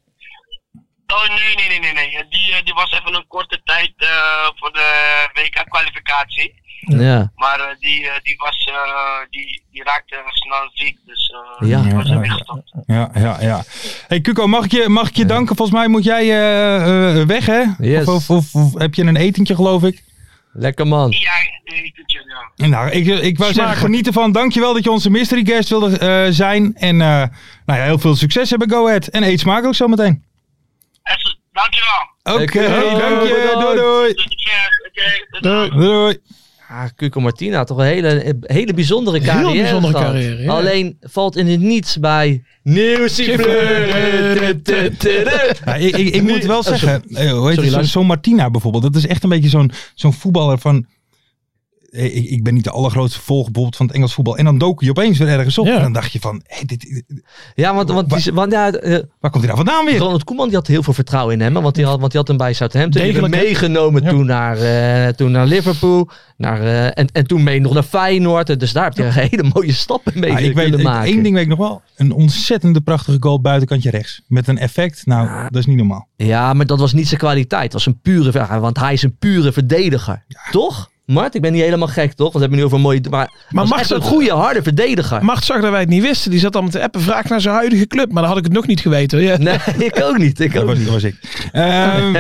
S7: Oh nee, nee, nee, nee. nee. Die, eh, die was even een korte tijd eh, voor de WK-kwalificatie.
S5: Ja.
S7: Maar eh, die, eh, die, was, eh, die, die raakte snel ziek. Dus eh,
S5: Ja.
S7: die was
S3: Ja,
S7: er
S3: ja,
S7: weggestopt.
S3: Ja, ja, ja. hey, Cuco, mag ik je, mag ik je danken? Volgens mij moet jij eh, eh, weg, hè?
S5: Yes.
S3: Of, of, of heb je een etentje, geloof ik?
S5: Lekker man.
S7: Ja, ik doe het, ja.
S3: Nou, ik, ik wou zeggen,
S4: Smakelijk.
S3: geniet ervan. Dankjewel dat je onze mystery guest wilde eh, zijn. En eh, nou ja, heel veel succes hebben, Go Ahead. En eet smakelijk zometeen.
S7: En zo- Dankjewel.
S3: Oké,
S5: Cuco.
S3: dank je. Doei, doei.
S7: Tot de keer. Oké, tot de-
S3: Doei, doei.
S5: Ah, Cuco Martina, toch een hele, hele bijzondere carrière.
S4: bijzondere
S5: gehad.
S4: carrière, ja.
S5: Alleen valt in het niets bij. Nieuwsifleur.
S3: Ja, ik ik, ik moet wel zeggen, eh, hoe heet
S5: Sorry,
S3: het, zo-
S5: Lars.
S3: zo'n Martina bijvoorbeeld, dat is echt een beetje zo'n zo'n voetballer van... eh, Ik, ik ben niet de allergrootste volger bijvoorbeeld van het Engels voetbal. En dan dook je opeens weer ergens op.
S4: Ja.
S3: En dan dacht je van, hé, dit,
S5: Ja, want, want, die, want ja, eh,
S3: waar komt hij nou vandaan weer?
S5: Ronald Koeman die had heel veel vertrouwen in hem. hè, Want die had, want die had hem bij Southampton die
S4: Degelijk,
S5: werd
S4: hè?
S5: meegenomen
S4: Ja.
S5: toen, naar, eh, toen naar Liverpool. Naar, eh, en, en toen mee nog naar Feyenoord. En Dus daar heb je een hele mooie stappen mee
S3: Ja, ik
S5: kunnen
S3: weet, ik-
S5: maken.
S3: één ding weet ik nog wel. Een ontzettende prachtige goal buitenkantje rechts. Met een effect, nou, dat is niet normaal.
S5: ah, Ja, maar dat was niet zijn kwaliteit. Het was een pure, want hij is een pure verdediger. Toch? Mart, ik ben niet helemaal gek, toch? Want we hebben nu over een mooie... Maar, maar
S4: mag
S5: echt
S4: dat-
S5: een goede, harde verdediger.
S4: Macht zag dat wij het niet wisten. Die zat allemaal te appen. Vraag naar zijn huidige club. Maar dan had ik het nog niet geweten. hoor. Ja.
S5: Nee, ik ook niet. Ik
S3: Dat
S5: ook
S3: was,
S5: niet.
S3: dat was ik. Ehm,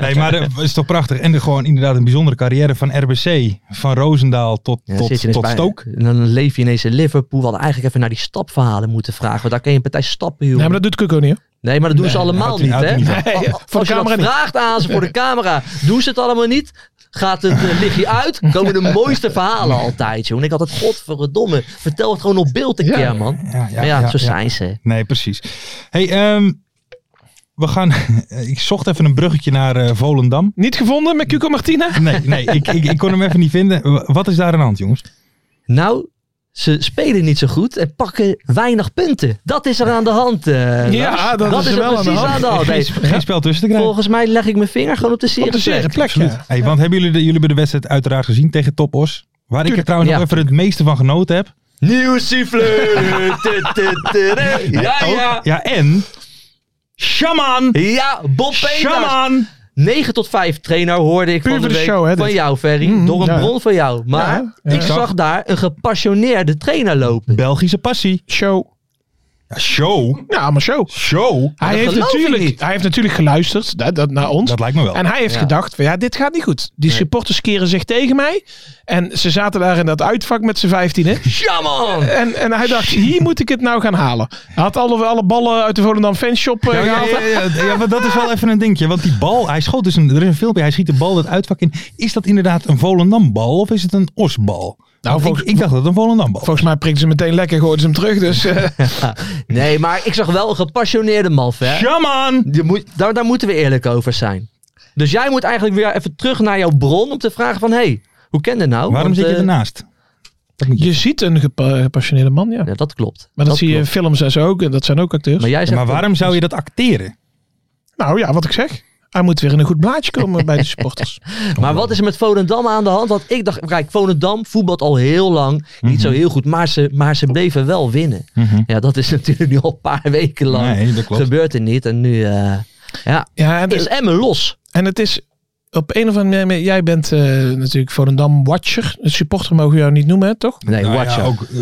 S3: nee, maar dat is toch prachtig. En de, gewoon inderdaad een bijzondere carrière van RBC. Van Roosendaal tot,
S5: Ja, dan zit je dus
S3: tot,
S5: ineens
S3: tot
S5: bij-
S3: Stoke.
S5: En dan leef je ineens in Liverpool. We hadden eigenlijk even naar die stapverhalen moeten vragen. Want daar kun je een partij stappen, joh.
S4: Nee, maar dat doet Cuco niet. hoor.
S5: Nee, maar dat doen ze allemaal
S3: houdt-
S5: niet,
S3: houdt
S5: hè?
S3: niet
S4: Nee,
S5: Al- al-
S4: voor de
S5: Oh, als je dat
S4: camera niet.
S5: vraagt aan ze voor de camera, doen ze het allemaal niet. Gaat het eh, lichtje uit, komen de mooiste verhalen altijd, joh. En ik had het, godverdomme, vertel het gewoon op beeld een keer, man.
S3: Ja, ja,
S5: maar ja,
S3: ja,
S5: zo
S3: ja.
S5: zijn ze.
S3: Nee, precies. Hey, ehm, we gaan. ik zocht even een bruggetje naar eh, Volendam.
S4: Niet gevonden met Cuco Martina?
S3: Nee, nee ik, ik, ik kon hem even niet vinden. Wa- Wat is daar aan de hand, jongens?
S5: Nou, ze spelen niet zo goed en pakken weinig punten. Dat is er aan de hand. eh,
S4: Ja,
S5: Lars.
S4: dat is
S5: er
S4: wel aan de
S5: precies
S4: hand.
S5: aan de hand.
S3: Geen,
S5: Nee,
S3: sp- geen spel tussen te krijgen.
S5: volgens mij leg ik mijn vinger gewoon op de zere
S4: Op de zere
S5: plek.
S4: plek.
S3: Absoluut.
S4: Ja.
S3: Hey, want hebben jullie de, jullie hebben de wedstrijd uiteraard gezien tegen Topos? Waar ik er trouwens
S5: Ja.
S3: nog even het meeste van genoten heb.
S5: Nieuw sifflet. Tu, tu, tu, tu. Ja,
S3: Ook-
S5: ja.
S3: ja en. Shaman!
S5: Ja, Bob Peters.
S3: Shaman!
S5: 9 tot 5 trainer hoorde ik
S4: Puur
S5: van de
S4: voor de
S5: week
S4: show, hè,
S5: van
S4: dit.
S5: jou, Ferry.
S4: Mm,
S5: door een
S4: ja.
S5: bron van jou. Maar
S4: Ja,
S5: ik zag daar een gepassioneerde trainer lopen.
S3: Belgische passie.
S4: Show.
S3: Ja, show.
S4: Ja, maar show.
S3: Show.
S4: Hij heeft,
S5: geloof ik
S4: natuurlijk,
S5: niet.
S4: hij heeft natuurlijk geluisterd dat, dat, naar ons.
S3: Dat lijkt me wel.
S4: En hij heeft
S5: Ja.
S4: gedacht, van, ja, dit gaat niet goed. Die supporters keren zich tegen mij. En ze zaten daar in dat uitvak met z'n vijftienen.
S5: Ja, man.
S4: En, en hij dacht, hier moet ik het nou gaan halen. Hij had alle, alle ballen uit de Volendam fanshop eh,
S3: Ja, ja,
S4: gehaald.
S3: ja, ja, ja, maar dat is wel even een dingetje. Want die bal, hij schoot dus een, er is een filmpje, hij schiet de bal dat uitvak in. Is dat inderdaad een Volendambal of is het een Osbal? Nou, ik,
S4: volgens-
S3: ik dacht dat het een Volendambal was.
S4: Volgens mij prikten ze meteen lekker en gooiden ze hem terug. Dus eh,
S5: Nee, maar ik zag wel een gepassioneerde man, Fer.
S3: Shaman!
S5: Je moet, daar, daar moeten we eerlijk over zijn. Dus jij moet eigenlijk weer even terug naar jouw bron om te vragen van... hey, hoe ken je nou?
S3: Waarom
S5: Want,
S3: zit je
S5: eh,
S3: ernaast?
S4: je ziet een gepa- gepassioneerde man, ja. Maar
S5: Ja, dat klopt.
S4: dat, zie je in
S5: klopt.
S4: films en zo ook. En dat zijn ook acteurs.
S5: Maar, jij
S3: Ja,
S5: zegt
S3: maar waarom zou je dat acteren?
S4: Nou ja, wat ik zeg. Hij moet weer in een goed blaadje komen bij de supporters.
S5: Maar wat is er met Volendam aan de hand? Want ik dacht, kijk, Volendam voetbalt al heel lang.
S3: Mhm.
S5: Niet zo heel goed, maar ze, maar ze bleven wel winnen. Ja, dat is natuurlijk nu al een paar weken lang.
S3: Nee, dat klopt.
S5: Gebeurt er niet. En nu eh, ja,
S4: Ja, en,
S5: is Emmen los.
S4: en het is op een of andere manier... Jij bent eh, natuurlijk Volendam-watcher. Een supporter mogen we jou niet noemen, hè, toch?
S5: Nee,
S3: Nou ja,
S5: watch out.
S3: ook, eh,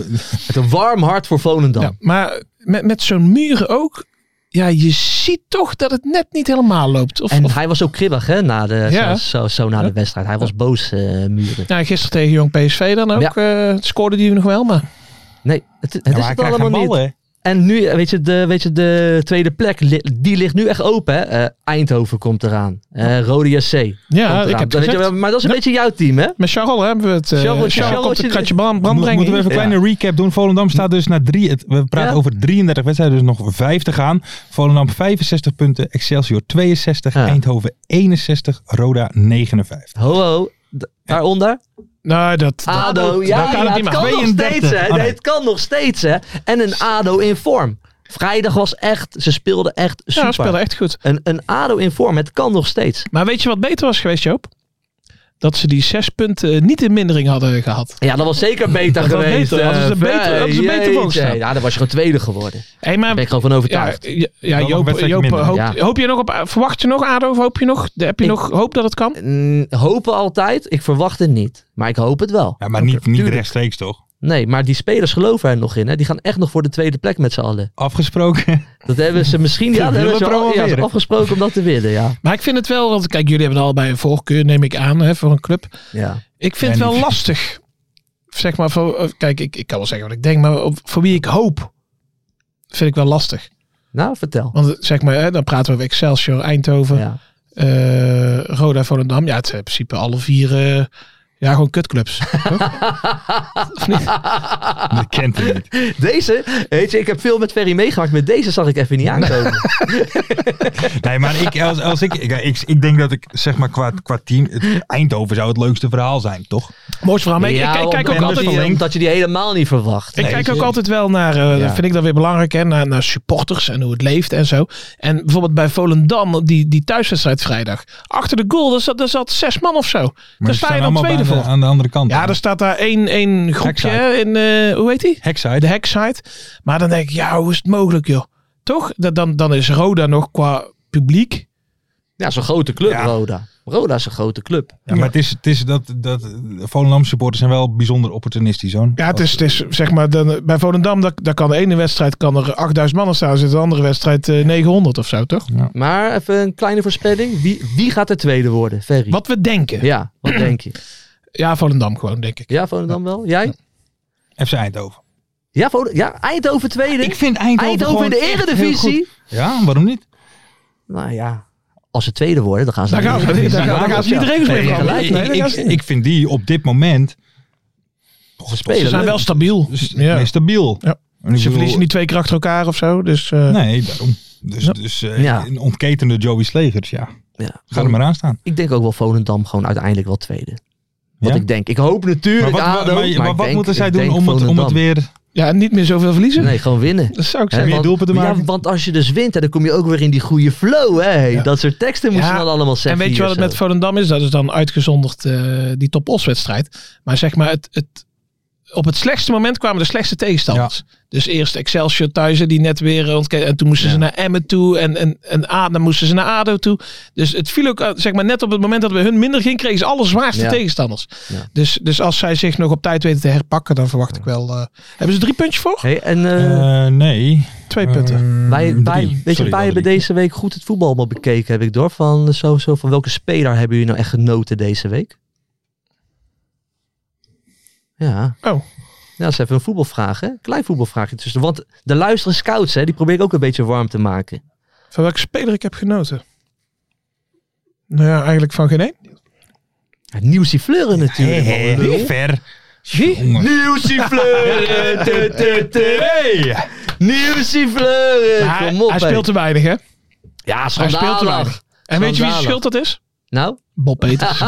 S5: Met een warm hart voor Volendam.
S4: Ja, maar met, met zo'n muren ook. Ja, je ziet toch dat het net niet helemaal loopt. Of,
S5: En
S4: of-
S5: hij was ook kribbig, hè, na de,
S4: Ja.
S5: zo, zo, zo na de wedstrijd. Hij was boos, eh, Muren.
S4: ja, Nou, gisteren tegen Jong PSV dan ook. eh, scoorde die nog wel, maar...
S5: Nee, het, het
S3: ja,
S5: is
S3: maar hij
S5: het
S3: krijgt geen
S5: allemaal niet.
S3: bal, hè?
S5: En nu, eh, weet je, de, weet je, de tweede plek, li- die ligt nu echt open. Hè? Eh, Eindhoven komt eraan. Eh Rode SC.
S4: Ja,
S5: komt
S4: ik
S5: eraan.
S4: heb
S5: Dat
S4: het
S5: weet je,
S4: gezegd.
S5: wel, Maar dat is een beetje jouw team, hè?
S4: Met Charles hebben we het. eh
S5: Charles-
S4: Charles,
S5: Charles
S4: komt het
S5: zit-
S4: kratje brand, brand
S3: Moet-
S4: brengen.
S3: Moeten we even een
S5: Ja.
S3: kleine recap doen. Volendam staat dus na drie... het- we praten
S5: Ja.
S3: over 33 wedstrijden, dus nog vijf te gaan. Volendam 65 punten, Excelsior 62,
S5: Ja.
S3: Eindhoven 61, Roda 59.
S5: Ho, ho. D- Daaronder?
S4: Nou, dat. dat-
S5: ADO. Ja,
S4: dat
S5: ja,
S4: kan het
S5: het,
S4: niet meer.
S5: kan nog
S3: 32.
S5: steeds, hè?
S3: Oh,
S5: Nee,
S3: nee.
S5: het kan nog steeds, hè? En een ADO in vorm. Vrijdag was echt, ze speelden echt
S4: Ja,
S5: super.
S4: we speelden echt goed.
S5: Een, een ADO in vorm, het kan nog steeds.
S4: Maar weet je wat beter was geweest, Joop? Dat ze die zes punten niet in mindering hadden gehad.
S5: Ja, dat was zeker beter
S4: Dat was
S5: geweest.
S4: beter, hadden ze
S5: eh,
S4: er beter-
S5: Vrij,
S4: hadden ze beter voor
S5: jeetje.
S4: gestaan.
S5: Ja, dan was je gewoon tweede geworden. Daar
S4: Hey,
S5: ben
S4: maar,
S5: ik gewoon van
S4: ja,
S5: overtuigd.
S4: ja, ja,
S3: nog een
S4: Joop,
S3: wedstrijdje
S4: Joop
S3: minder,
S4: hoop,
S5: ja.
S4: hoop je nog op. Verwacht je nog, Ado? Of hoop je nog, heb je
S5: Ik-
S4: nog hoop dat het kan?
S5: Mm, hopen altijd. Ik verwacht het niet. Maar ik hoop het wel.
S3: Ja, maar niet, niet
S5: Tuurlijk.
S3: rechtstreeks, toch?
S5: Nee, maar die spelers geloven er nog in. Hè? Die gaan echt nog voor de tweede plek met z'n allen.
S3: Afgesproken.
S5: Dat hebben ze misschien ja, dat
S3: willen
S5: hebben ze al, ja,
S3: promoveren.
S5: ze afgesproken om dat te winnen. Ja.
S4: Maar ik vind het wel, want kijk, jullie hebben er allebei een voorkeur, neem ik aan, hè, voor een club.
S5: Ja.
S4: Ik vind
S3: En
S4: het wel
S3: ik-
S4: lastig. Zeg maar, voor, eh, kijk, ik, ik kan wel zeggen wat ik denk, maar op, voor wie ik hoop, vind ik wel lastig.
S5: Nou, vertel.
S4: Want het- zeg maar, hè, dan praten we over Excelsior, Eindhoven,
S5: Ja.
S4: eh, Roda, Volendam. Ja, het zijn in principe alle vier, eh, ja, gewoon kutclubs.
S3: Dat kent hij niet.
S5: Deze, weet je, ik heb veel met Ferry meegemaakt. Met deze zag ik even niet aankomen.
S3: Nee, maar ik, als, als ik, ik, ik, ik denk dat ik, zeg maar, qua, qua team, het Eindhoven zou het leukste verhaal zijn, toch?
S4: Mooi verhaal. Maar ik-
S5: Ja,
S4: ik, ik kijk
S5: omdat
S4: ook
S5: je-
S4: altijd...
S3: verlengt.
S5: Omdat je die helemaal niet verwacht.
S4: Ik
S5: Nee,
S4: kijk
S5: dus-
S4: ook altijd wel naar, eh,
S5: Ja.
S4: vind ik dat weer belangrijk, hè, naar, naar supporters en hoe het leeft en zo. En bijvoorbeeld bij Volendam, die, die thuiswedstrijd vrijdag. Achter de goal, daar zat, daar zat zes man of zo.
S3: Maar
S4: Daar
S3: ze
S4: sta je
S3: staan
S4: dan
S3: allemaal
S4: tweede
S3: bij de-
S4: voor.
S3: Aan de andere kant.
S4: Ja, er staat daar één, één groepje hè, in, eh, hoe heet die?
S3: Hekside.
S4: De Hackside. Maar dan denk ik, ja, hoe is het mogelijk joh? Toch? Dat, dan, dan is Roda nog qua publiek.
S5: Ja, zo'n grote club,
S3: Ja.
S5: Roda. Roda is een grote club.
S3: Ja, maar het is, het is dat, dat Volendam supporters zijn wel bijzonder opportunistisch, zo'n.
S4: Ja, het is, het is zeg maar, dan, bij Volendam, daar, daar kan de ene wedstrijd kan er 8000 man staan zitten, de andere wedstrijd eh, 900 of zo, toch?
S5: Maar even een kleine voorspelling. Wie, wie gaat de tweede worden, Ferry?
S4: Wat we denken. Ja,
S5: Ja, wat denk je?
S4: Volendam gewoon, denk ik.
S5: Ja, Volendam wel? Jij?
S3: FC Eindhoven.
S5: Ja, Volendam- ja Eindhoven tweede.
S3: Ik vind Eindhoven,
S5: Eindhoven in de
S3: gewoon echt heel
S5: eredivisie.
S3: goed. Ja, waarom niet?
S5: Nou ja, als ze tweede worden, dan gaan ze
S4: Daar
S5: naar de
S4: gaan ze, daar,
S5: Eredivisie.
S4: gaan- daar gaan ze niet de regels mee
S5: Nee,
S4: veranderen.
S5: gelijk.
S4: Nee, daar
S3: ik,
S4: gaan ze niet.
S3: ik vind die op dit moment
S5: spelen.
S4: Ze zijn wel stabiel.
S3: dus
S4: Ja.
S3: nee, stabiel.
S4: Ja.
S3: En ik
S4: Ze
S3: bedoel-
S4: verliezen niet twee keer achter elkaar of zo. Dus, eh,
S3: Nee, daarom. Dus,
S4: Ja.
S3: dus eh,
S5: Ja.
S3: een ontketende Joey Slegers, ja.
S5: Ja.
S3: Ga er maar aan staan.
S5: Ik denk ook wel Volendam gewoon uiteindelijk wel tweede. Wat
S3: Ja?
S5: ik denk. Ik hoop natuurlijk
S3: wat,
S5: ADO,
S3: maar- maar
S5: ik
S3: wat
S5: denk-
S3: moeten zij
S5: ik
S3: doen
S5: denk
S3: om het, om het
S5: Volendam.
S3: weer...
S4: ja, en niet meer zoveel verliezen.
S5: Nee, gewoon winnen.
S4: Dat zou ik
S5: Hè,
S4: zeggen.
S3: Meer
S5: want-
S3: doelpunten maken.
S5: Ja, want als je dus wint, hè, dan kom je ook weer in die goede flow. Hè. Dat soort teksten moeten
S4: Ja,
S5: dan allemaal zeggen.
S4: en weet je
S5: hier
S4: wat het
S5: zo.
S4: met Volendam is? Dat is dan uitgezonderd eh, die top os wedstrijd. Maar zeg maar, het, het, op het slechtste moment kwamen de slechtste tegenstanders. Dus eerst Excelsior thuis, hè, die net weer ontkennen. En toen moesten ze naar Emmen toe. En, en, en A, dan moesten ze naar ADO toe. Dus het viel ook, eh, zeg maar, net op het moment dat we hun minder ging, kregen ze alle zwaarste
S5: Ja.
S4: tegenstanders.
S5: Ja.
S4: Dus, dus als zij zich nog op tijd weten te herpakken, dan verwacht ik wel... eh, hebben ze drie puntjes voor?
S5: Hé, en eh,
S3: Eh, nee.
S4: Twee punten.
S3: Eh,
S5: wij,
S4: Mm-hmm.
S5: wij,
S3: drie.
S5: weet je,
S3: Sorry,
S5: wij hebben
S3: drie.
S5: deze week goed het voetbal allemaal bekeken, heb ik door. Van, eh, zo, zo, van welke speler hebben jullie nou echt genoten deze week? Ja.
S4: Oh.
S5: Ja, dat is even een voetbalvraag, hè? Klein voetbalvraagje tussen. Want de luisteren scouts, hè, die probeer ik ook een beetje warm te maken.
S4: Van welke speler ik heb genoten? Nou ja, eigenlijk van geen één.
S5: Ja, Nieuws die fleuren natuurlijk. man.
S3: Hé,
S5: Lul.
S3: niet ver.
S5: Wie?
S3: Jongen.
S5: Nieuws die fleuren. tu, tu, tu.
S3: Hey!
S5: Nieuws die fleuren.
S4: Maar hij,
S5: Kom op,
S4: hij
S5: hé.
S4: speelt te weinig, hè?
S5: Ja,
S4: Hij speelt te weinig.
S5: schandalig.
S4: En weet je wie
S5: Schandalig.
S4: zijn schuld dat is?
S5: Nou,
S4: Bob Peters.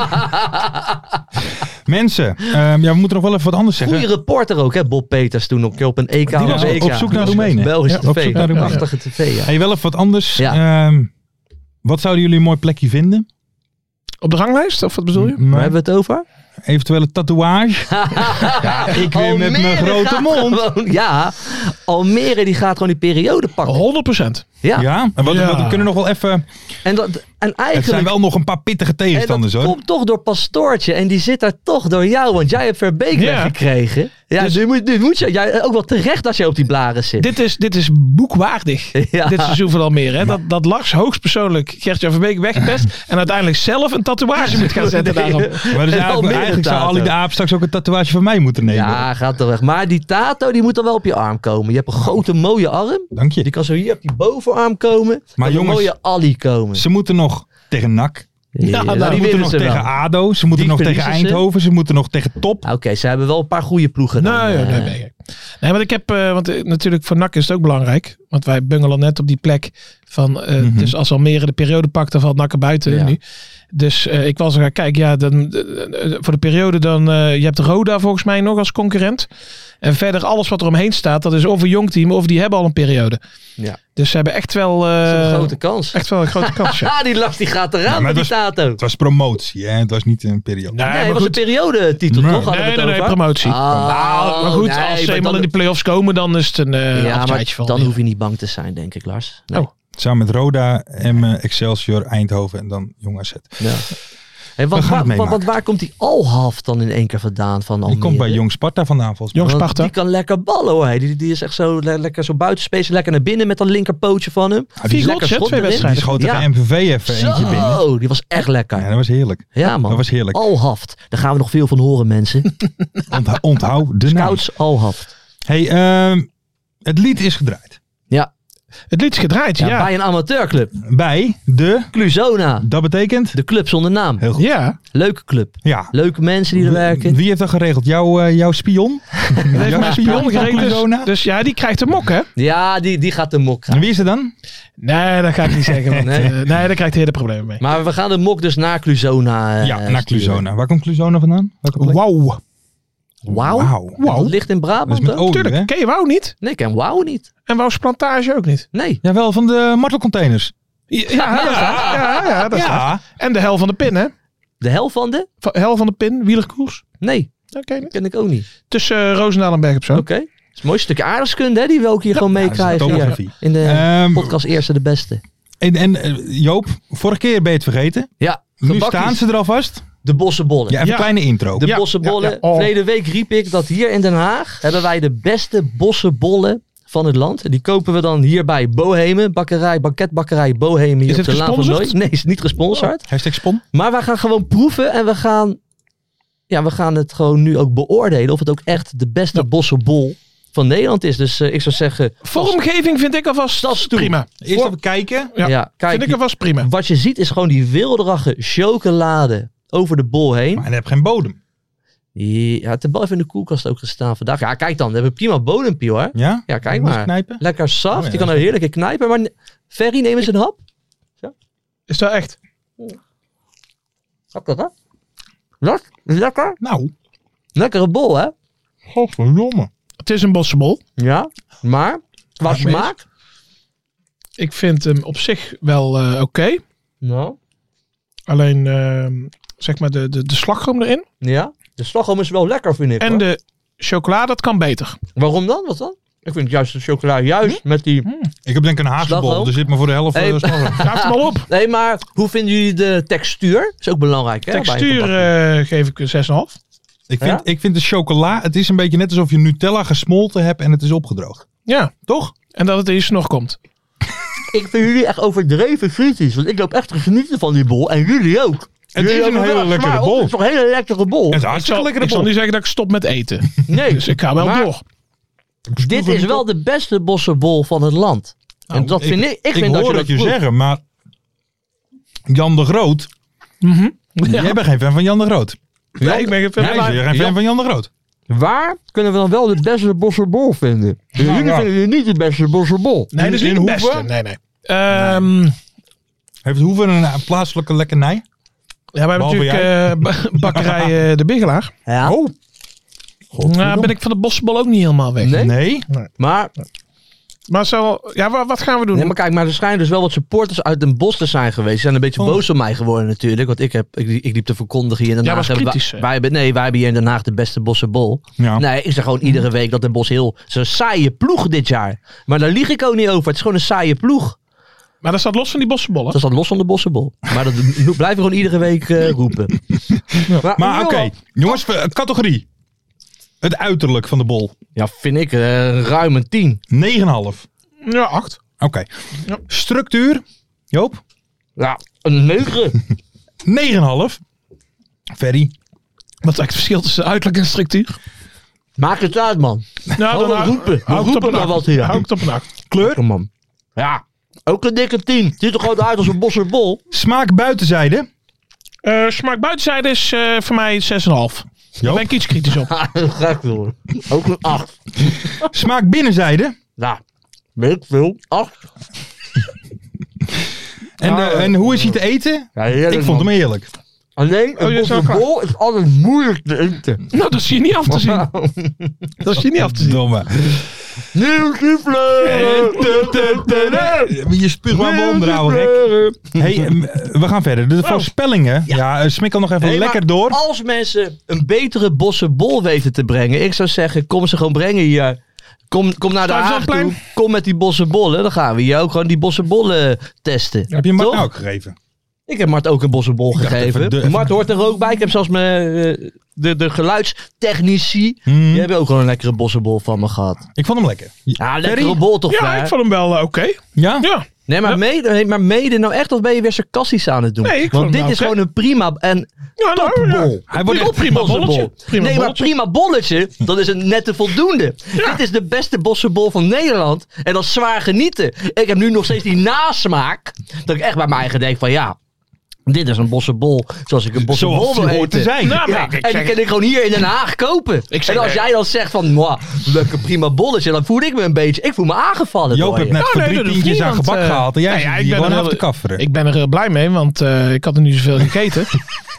S3: Mensen, ehm, ja, we moeten nog wel even wat anders zeggen.
S5: goede reporter ook, hè? Bob Peters toen op, op een EK.
S3: Die was
S5: WK.
S3: op zoek naar Roemenen.
S5: Belgische
S3: Ja, op
S5: tv.
S3: zoek naar Roemenen.
S5: Prachtige tv, ja.
S3: Hey, wel even wat anders.
S5: Ja.
S3: Ehm, wat zouden jullie een mooi plekje vinden?
S4: Op de ranglijst? Of wat bedoel je?
S5: Waar
S3: Maar
S5: hebben we het over?
S3: eventuele tatoeage. ja, ik weer
S5: Oh,
S3: met mijn
S5: Almere
S3: grote
S5: gaat
S3: mond.
S5: gewoon- ja, Almere die gaat gewoon die periode pakken.
S4: 100%.
S5: Ja.
S3: Oh, Ja, en wat,
S4: Ja.
S3: wat- we kunnen nog wel even...
S5: En, dat, en
S3: Het zijn
S5: eigenlijk...
S3: wel nog een paar pittige
S5: en dat
S3: tegenstanders hoor.
S5: komt toch door Pastoortje. En die zit daar toch door jou. Want jij hebt Verbeek
S4: Ja.
S5: weggekregen. Ja, dus
S4: Dus-
S5: nu moet, nu moet je... Jij, ook wel terecht dat jij op die blaren zit.
S4: Dit is, dit is boekwaardig.
S5: Ja.
S4: Dit seizoen van Almere. Hè? Dat, dat Lars hoogstpersoonlijk Gert-Jan Verbeek wegpest. en uiteindelijk zelf een tatoeage moet gaan zetten daarop.
S3: Maar dus
S5: En
S3: eigenlijk,
S5: Almere
S3: eigenlijk zou
S5: tato.
S3: Ali de Aap straks ook een tatoeage van mij moeten nemen.
S5: Ja, gaat toch weg. Maar die tato die moet dan wel op je arm komen. Je hebt een grote mooie arm.
S3: Dank je.
S5: Die kan zo hier op die bovenarm komen.
S3: Maar
S5: Maar jongens,
S3: jongens-
S5: een mooie Ali komen.
S3: Ze moeten nog tegen NAC.
S5: Ja,
S4: nou,
S3: ze
S5: die
S3: moeten
S5: winnen
S3: nog
S5: ze
S3: tegen
S5: wel.
S3: ADO. Ze moeten
S5: Die
S3: nog tegen
S5: verliezen ze.
S3: Eindhoven. Ze moeten nog tegen Top.
S5: Ah, Oké, ze hebben wel een paar goede ploegen. dan,
S4: Nee,
S5: eh.
S4: nee, nee, nee. Nee, want ik heb, eh, want eh, natuurlijk voor NAC is het ook belangrijk. Want wij bungelen net op die plek van, eh,
S3: Mhm.
S4: dus als Almere de periode pakt, dan valt NAC er buiten
S5: Ja.
S4: nu. Dus eh, ik was er gaan kijken, ja, dan, eh, eh, voor de periode dan, eh, je hebt Roda volgens mij nog als concurrent. En verder alles wat er omheen staat, dat is of een jong team of die hebben al een periode.
S5: Ja.
S4: Dus ze hebben echt wel, eh,
S5: Dat is een grote kans.
S4: echt wel een grote kans. Ja.
S5: Ah, die last die gaat eraan
S3: Ja, maar
S5: met die
S3: het
S5: tato. Ah,
S3: Het was promotie. Hè? Het was niet een periode.
S5: nee,
S4: maar
S5: het was
S4: goed.
S5: een periodetitel,
S3: Nee.
S5: toch? Hadden we
S4: Nee,
S5: het
S4: nee, nee,
S5: over?
S4: promotie.
S5: Ah,
S4: Nou, maar goed,
S5: nee,
S4: als
S5: maar
S4: ze eenmaal
S5: dan-
S4: in die play-offs komen, dan is het een eh
S5: Ja,
S4: appeltje
S5: maar
S4: van.
S5: dan hoef je niet bang te zijn, denk ik, Lars. Nee.
S4: Oh.
S3: Samen met Roda, Emmen, Excelsior, Eindhoven en dan Jong AZ.
S5: Ja. Hey,
S3: We
S5: wat,
S3: gaan het
S5: waar, wat,
S3: meemaken.
S5: wat- waar komt die Alhaf dan in één keer vandaan van
S3: Die
S5: Almere?
S3: komt bij Jong Sparta vandaan volgens mij.
S4: Jong
S5: Want
S4: Sparta.
S5: Die kan lekker ballen hoor. Hij- Die, die is echt zo le- lekker zo buitenspace. Lekker naar binnen met dat linkerpootje van hem.
S3: Ah, die
S4: Vier
S3: is
S4: goals,
S5: lekker
S4: hè,
S5: schot
S4: twee
S5: erin.
S3: Die
S4: wedstrijden.
S3: schoot tegen
S5: Ja.
S3: MVV even eentje binnen.
S5: Zo, die was echt
S3: Ja,
S5: lekker.
S3: dat was heerlijk.
S5: Ja man.
S3: Dat was heerlijk.
S5: Alhaft. Daar gaan we nog veel van horen mensen.
S3: Ontha- onthoud de naam.
S5: Scouts Alhaft.
S3: Hey, ehm, het lied is gedraaid.
S5: Ja.
S4: Het lied is gedraaid,
S5: Ja,
S4: ja.
S5: Bij een amateurclub.
S3: Bij de,
S5: Cluzona.
S3: dat betekent?
S5: De club zonder naam.
S3: Heel goed.
S4: Ja.
S5: Leuke club.
S3: Ja.
S5: Leuke mensen die er werken.
S3: Wie heeft dat geregeld? Jouw, eh, jouw spion?
S4: Dat heeft mijn spion
S3: van
S4: gereden.
S3: Corona?
S4: Dus, dus ja, die krijgt een mok, hè?
S5: Ja, die, die gaat de mok
S3: En
S5: gaan.
S3: wie is het dan?
S5: Eh,
S4: Nee, dat ga ik niet zeggen. Want,
S5: Nee.
S4: eh, nee, daar krijgt hij hele problemen mee.
S5: Maar we gaan de mok dus naar Cluzona. eh,
S3: ja, naar
S5: sturen.
S3: Cluzona. Waar komt Cluzona vandaan? Welke plek?
S4: Wauw.
S5: Wauw.
S3: Wauw.
S5: En Dat ligt in
S3: Dat is
S5: Brabant.
S3: met
S5: hè?
S3: olie, hè?
S4: Tuurlijk, ken je Wauw niet?
S5: Nee, ik ken Wauw niet.
S4: En Wouw's plantage ook niet.
S5: Nee.
S3: Jawel, van de martelcontainers.
S4: Ja, ja, dat is waar. ja, ja, dat is waar. En de hel van de pin, hè?
S5: De hel van de?
S4: Va- Hel van de pin, wielerkoers.
S5: Nee.
S4: Dat ken je niet.
S5: Ken ik ook niet.
S4: Tussen eh, Roosendaal en Berg op Zoom.
S5: Oké. Dat is een mooi stukje aardrijkskunde hè, die we ook hier gewoon
S3: dat is
S5: meekrijgen.
S3: topografie.
S5: in de
S3: Ehm,
S5: podcast Eerste de Beste.
S3: En, en eh, Joop, vorige keer ben je het vergeten.
S5: Ja,
S3: Nu
S5: gebakjes.
S3: staan ze er alvast.
S5: De bossenbollen.
S3: Ja, even
S5: Ja.
S3: een kleine intro.
S5: De
S4: Ja,
S5: bossenbollen.
S4: ja, ja. Oh.
S5: Verleden week riep ik dat hier in Den Haag hebben wij de beste bossenbollen van het land. En die kopen we dan hier bij Bohemen, bakkerij, banketbakkerij Bohemen hier
S4: Is
S5: op de
S4: het
S5: Laan van Nooit.
S4: gesponsord? Oh.
S5: Nee, is niet gesponsord.
S3: Hashtag spon.
S5: Maar wij gaan gewoon proeven en we gaan, ja, we gaan het gewoon nu ook beoordelen of het ook echt de beste bossenbol van Nederland is. Dus eh, ik zou zeggen,
S4: Vormgeving vind ik alvast
S5: tas toe.
S4: prima.
S3: Eerst
S4: Voor-
S3: even kijken.
S5: Ja,
S4: Ja,
S5: kijk,
S4: vind ik alvast prima.
S5: wat je ziet is gewoon die wilderige chocolade over de bol heen.
S3: Maar hij heeft geen bodem.
S5: Ja, het heeft wel even in de koelkast ook gestaan vandaag. Ja, kijk dan. We hebben prima bodempje hoor.
S3: Ja?
S5: Ja, kijk
S3: Moet
S5: maar.
S3: knijpen.
S5: Lekker zacht.
S3: Oh ja,
S5: je kan
S3: dat
S5: er heerlijke knijpen. Maar ne- Ferry, neem eens een hap.
S4: Is dat echt?
S5: Lekker hè? Lek- lekker.
S3: Nou,
S5: Lekkere bol hè?
S3: godverdomme.
S4: Het is een bossenbol.
S5: Ja. Maar, qua
S3: Maak me
S5: smaak.
S4: Ik vind hem op zich wel eh, oké.
S5: Nou.
S4: Alleen ehm, zeg maar de, de, de slagroom erin.
S5: Ja. De slagroom is wel lekker vind ik
S4: En
S5: hoor.
S4: de chocola, dat kan beter.
S5: Waarom dan? Wat dan? Ik vind juist de chocola
S3: Hm?
S5: juist met die...
S3: Ik heb denk ik een haagsbol.
S5: Slagroom?
S3: Er zit maar voor de helft
S5: Hey.
S3: hey. slagroom.
S4: Gaat het maar op.
S5: Nee, maar hoe vinden jullie de textuur? Is ook belangrijk hè? bij een
S4: Textuur
S5: gebakje.
S4: eh, geef ik een 6,5.
S3: ik, vind,
S5: Ja?
S3: ik vind de chocola, het is een beetje net alsof je Nutella gesmolten hebt en het is opgedroogd.
S4: Ja.
S3: Toch?
S4: En dat het eerst nog komt.
S5: Ik vind jullie echt overdreven kritisch. Want ik loop echt te genieten van die bol. En jullie ook.
S3: Het is een hele lekkere bol.
S5: Het is toch een hele lekkere bol.
S3: Het is een
S4: Ik zal,
S3: hartstikke lekkere
S4: ik zal
S3: bol.
S4: niet zeggen dat ik stop met eten.
S5: Nee,
S4: Dus ik ga wel
S5: maar
S4: door.
S5: Dit is wel de beste bossenbol van het land. en dat vind ik. Ik, vind dat
S3: hoor
S5: je
S3: het
S5: dat
S3: je
S5: proeft.
S3: zeggen, maar Jan de Groot, jij bent geen fan van Jan de Groot.
S4: Nee, Mhm. ik ben geen fan.
S5: Ja,
S3: Jij
S5: maar-
S3: bent geen fan
S5: Jan-
S3: van Jan de Groot.
S5: Waar kunnen we dan wel de beste bossenbol vinden? Dus jullie vinden het niet de beste bossenbol.
S4: Nee, dat is niet
S3: In
S4: het beste.
S3: Hoeven?
S4: Nee, nee. Ehm,
S3: Heeft Hoeven een eh, plaatselijke lekkernij?
S4: ja, we hebben
S3: Behalve
S4: natuurlijk eh, ba- bakkerij eh, De Biggelaar.
S5: Ja.
S4: Nou, ben ik van de bossenbol ook niet helemaal weg.
S5: Nee?
S3: Nee.
S5: Maar,
S4: Maar zo, ja, wa- wat gaan we doen?
S5: nee, maar kijk, maar er schijnen dus wel wat supporters uit Den Bosch te zijn geweest. Ze zijn een beetje
S3: Oh.
S5: boos op mij geworden natuurlijk. Want ik, heb, ik, ik liep te verkondigen hier in Den
S4: Ja,
S5: Haag.
S4: was
S5: hebben wij-
S4: kritisch, hè?
S5: wij, hebben, nee, wij hebben hier in Den Haag de beste bossenbol.
S3: Ja.
S5: Nee, ik zeg gewoon iedere week dat Den Bosch heel... Zo'n saaie ploeg dit jaar. Maar daar lieg ik ook niet over. Het is gewoon een saaie ploeg.
S4: Maar dat staat los van die bossenbollen.
S5: Dat staat los van de bossenbol. Maar dat no- blijf ik gewoon iedere week eh, roepen.
S3: Maar
S5: Johan,
S3: oké, jongens, eh, categorie. Het uiterlijk van de bol. 9,5.
S5: Ja, vind ik eh, ruim een 10.
S3: Oké.
S4: Ja, acht. Ja.
S3: Structuur, Joop,
S5: Ja, een 9.
S3: 9,5. Ferry,
S4: Wat is eigenlijk het verschil tussen uiterlijk en structuur?
S5: Maak het uit, man.
S4: Nou,
S5: Oh, we
S4: hou-
S5: roepen. We
S4: hou ik het op
S5: roepen
S4: een
S5: maar
S4: acht.
S5: wat hier.
S4: Hou ik het op een acht.
S3: kleur,
S5: Lekker, man. Ja, ook een dikke 10. Ziet er gewoon uit als een bossenbol.
S3: smaak buitenzijde.
S4: Eh, smaak buitenzijde is eh, voor mij 6,5. Daar
S3: Joop.
S4: ben ik iets kritisch op.
S5: Ha, gek, hoor. Ook een 8.
S3: Smaak binnenzijde.
S5: Ja, weet ik veel. 8.
S3: En,
S5: Ah,
S3: eh, en hoe is hij te eten?
S5: Ja, heerlijk,
S3: Ik vond hem
S5: man.
S3: heerlijk.
S5: Alleen, een
S4: Oh, je is ook
S5: bossenbol is altijd moeilijk te eten.
S4: Nou, dat zie je niet af te zien. Dat zie je niet af te zien.
S3: Domme.
S5: Nieuw vleuren.
S3: Je spuugt maar me om, trouwens, gek. Hey, em, we gaan verder.
S4: Oh.
S3: De voorspellingen. Ja, eh, smikkel nog even
S5: Hey,
S3: lekker
S5: maar
S3: door.
S5: Als mensen een betere bossenbol weten te brengen, ik zou zeggen, kom ze gewoon brengen hier. Kom, kom naar de Haag
S4: Stuyvesantplein.
S5: toe, kom met die bossenbollen. Dan gaan we hier ook gewoon die bossenbollen testen.
S3: Heb je Mart
S5: Toch?
S3: nou ook gegeven?
S5: Ik heb Mart ook een bossenbol
S3: dacht
S5: gegeven.
S3: even de-
S5: Mart hoort er ook bij. Ik heb zelfs mijn, eh, de, de geluidstechnici.
S3: Hmm,
S5: Die hebben ook gewoon een lekkere bossenbol van me gehad.
S3: Ik vond hem lekker.
S5: Ja, lekkere bol toch,
S4: Ja,
S5: hè?
S4: ik vond hem wel eh, oké.
S3: Ja?
S4: Ja.
S5: Nee, maar,
S4: Ja.
S5: mede, nee, maar mede nou echt of ben je weer sarcastisch aan het doen?
S4: Nee, ik vond
S5: Want
S4: hem
S5: dit
S4: nou
S5: is
S4: oké.
S5: gewoon een prima en
S4: ja, nou, ja.
S5: topbol.
S3: Hij wordt
S4: Prima,
S3: echt
S4: prima
S5: Bossenbol.
S4: bolletje. Prima
S5: nee, maar
S4: bolletje.
S5: prima bolletje, dat is een nette voldoende. Dit is de beste bossenbol van Nederland. En dat is zwaar genieten. Ik heb nu nog steeds die nasmaak. Dat ik echt bij mij eigen denk van ja, dit is een bossenbol zoals ik een bossenbol
S3: Zoals
S5: wil
S3: die hoort te
S5: eten.
S3: zijn.
S4: Nou, maar
S5: Ja,
S4: ik- ik
S5: en die
S4: zeg-
S5: kan ik gewoon hier in Den Haag kopen.
S4: zeg-
S5: en als jij dan zegt van, "Mwah, lekker prima bolletje, dan voel ik me een beetje, ik voel me aangevallen
S3: Joop
S5: door
S3: heeft
S5: je.
S3: net
S4: Nou,
S3: voor
S4: nee,
S3: drie
S4: dat hoeft
S3: tientjes
S4: niet,
S3: aan
S4: want,
S3: gebak
S4: eh,
S3: gehaald. En jij
S4: nou ja,
S3: zit
S4: ik
S3: hier
S4: ben
S3: gewoon
S4: er
S3: af
S4: heel-
S3: te kafferen.
S4: Ik ben er heel blij mee, want eh, ik had er niet zoveel gegeten.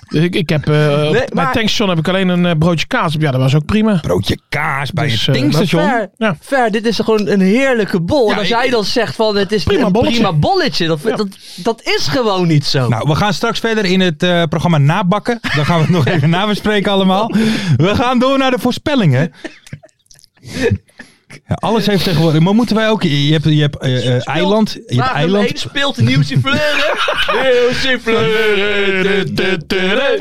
S4: Dus ik, ik heb, eh op-
S5: maar-
S4: Bij Tankstation heb ik alleen een eh, broodje kaas. op. Ja, dat was ook prima.
S3: Broodje kaas bij
S4: Dus,
S3: een
S4: eh,
S3: tankstation.
S5: Maar Ver,
S4: Ja.
S5: Ver, dit is toch gewoon een heerlijke bol. en als jij dan zegt van het is
S4: Prima
S5: een
S4: bolletje.
S5: prima bolletje, dat,
S4: Ja.
S5: dat, dat is gewoon niet zo.
S3: Nou, we gaan straks verder in het eh, programma nabakken. Dan gaan we het nog even nabespreken allemaal. We gaan door naar de voorspellingen. Ja, alles heeft tegenwoordig. Maar moeten wij ook. Je hebt, je hebt eh, eh, eiland. Je hebt
S5: Vraag nummer
S3: eiland.
S5: één, speelt de nieuwste fleuren. Nieuwste fleuren.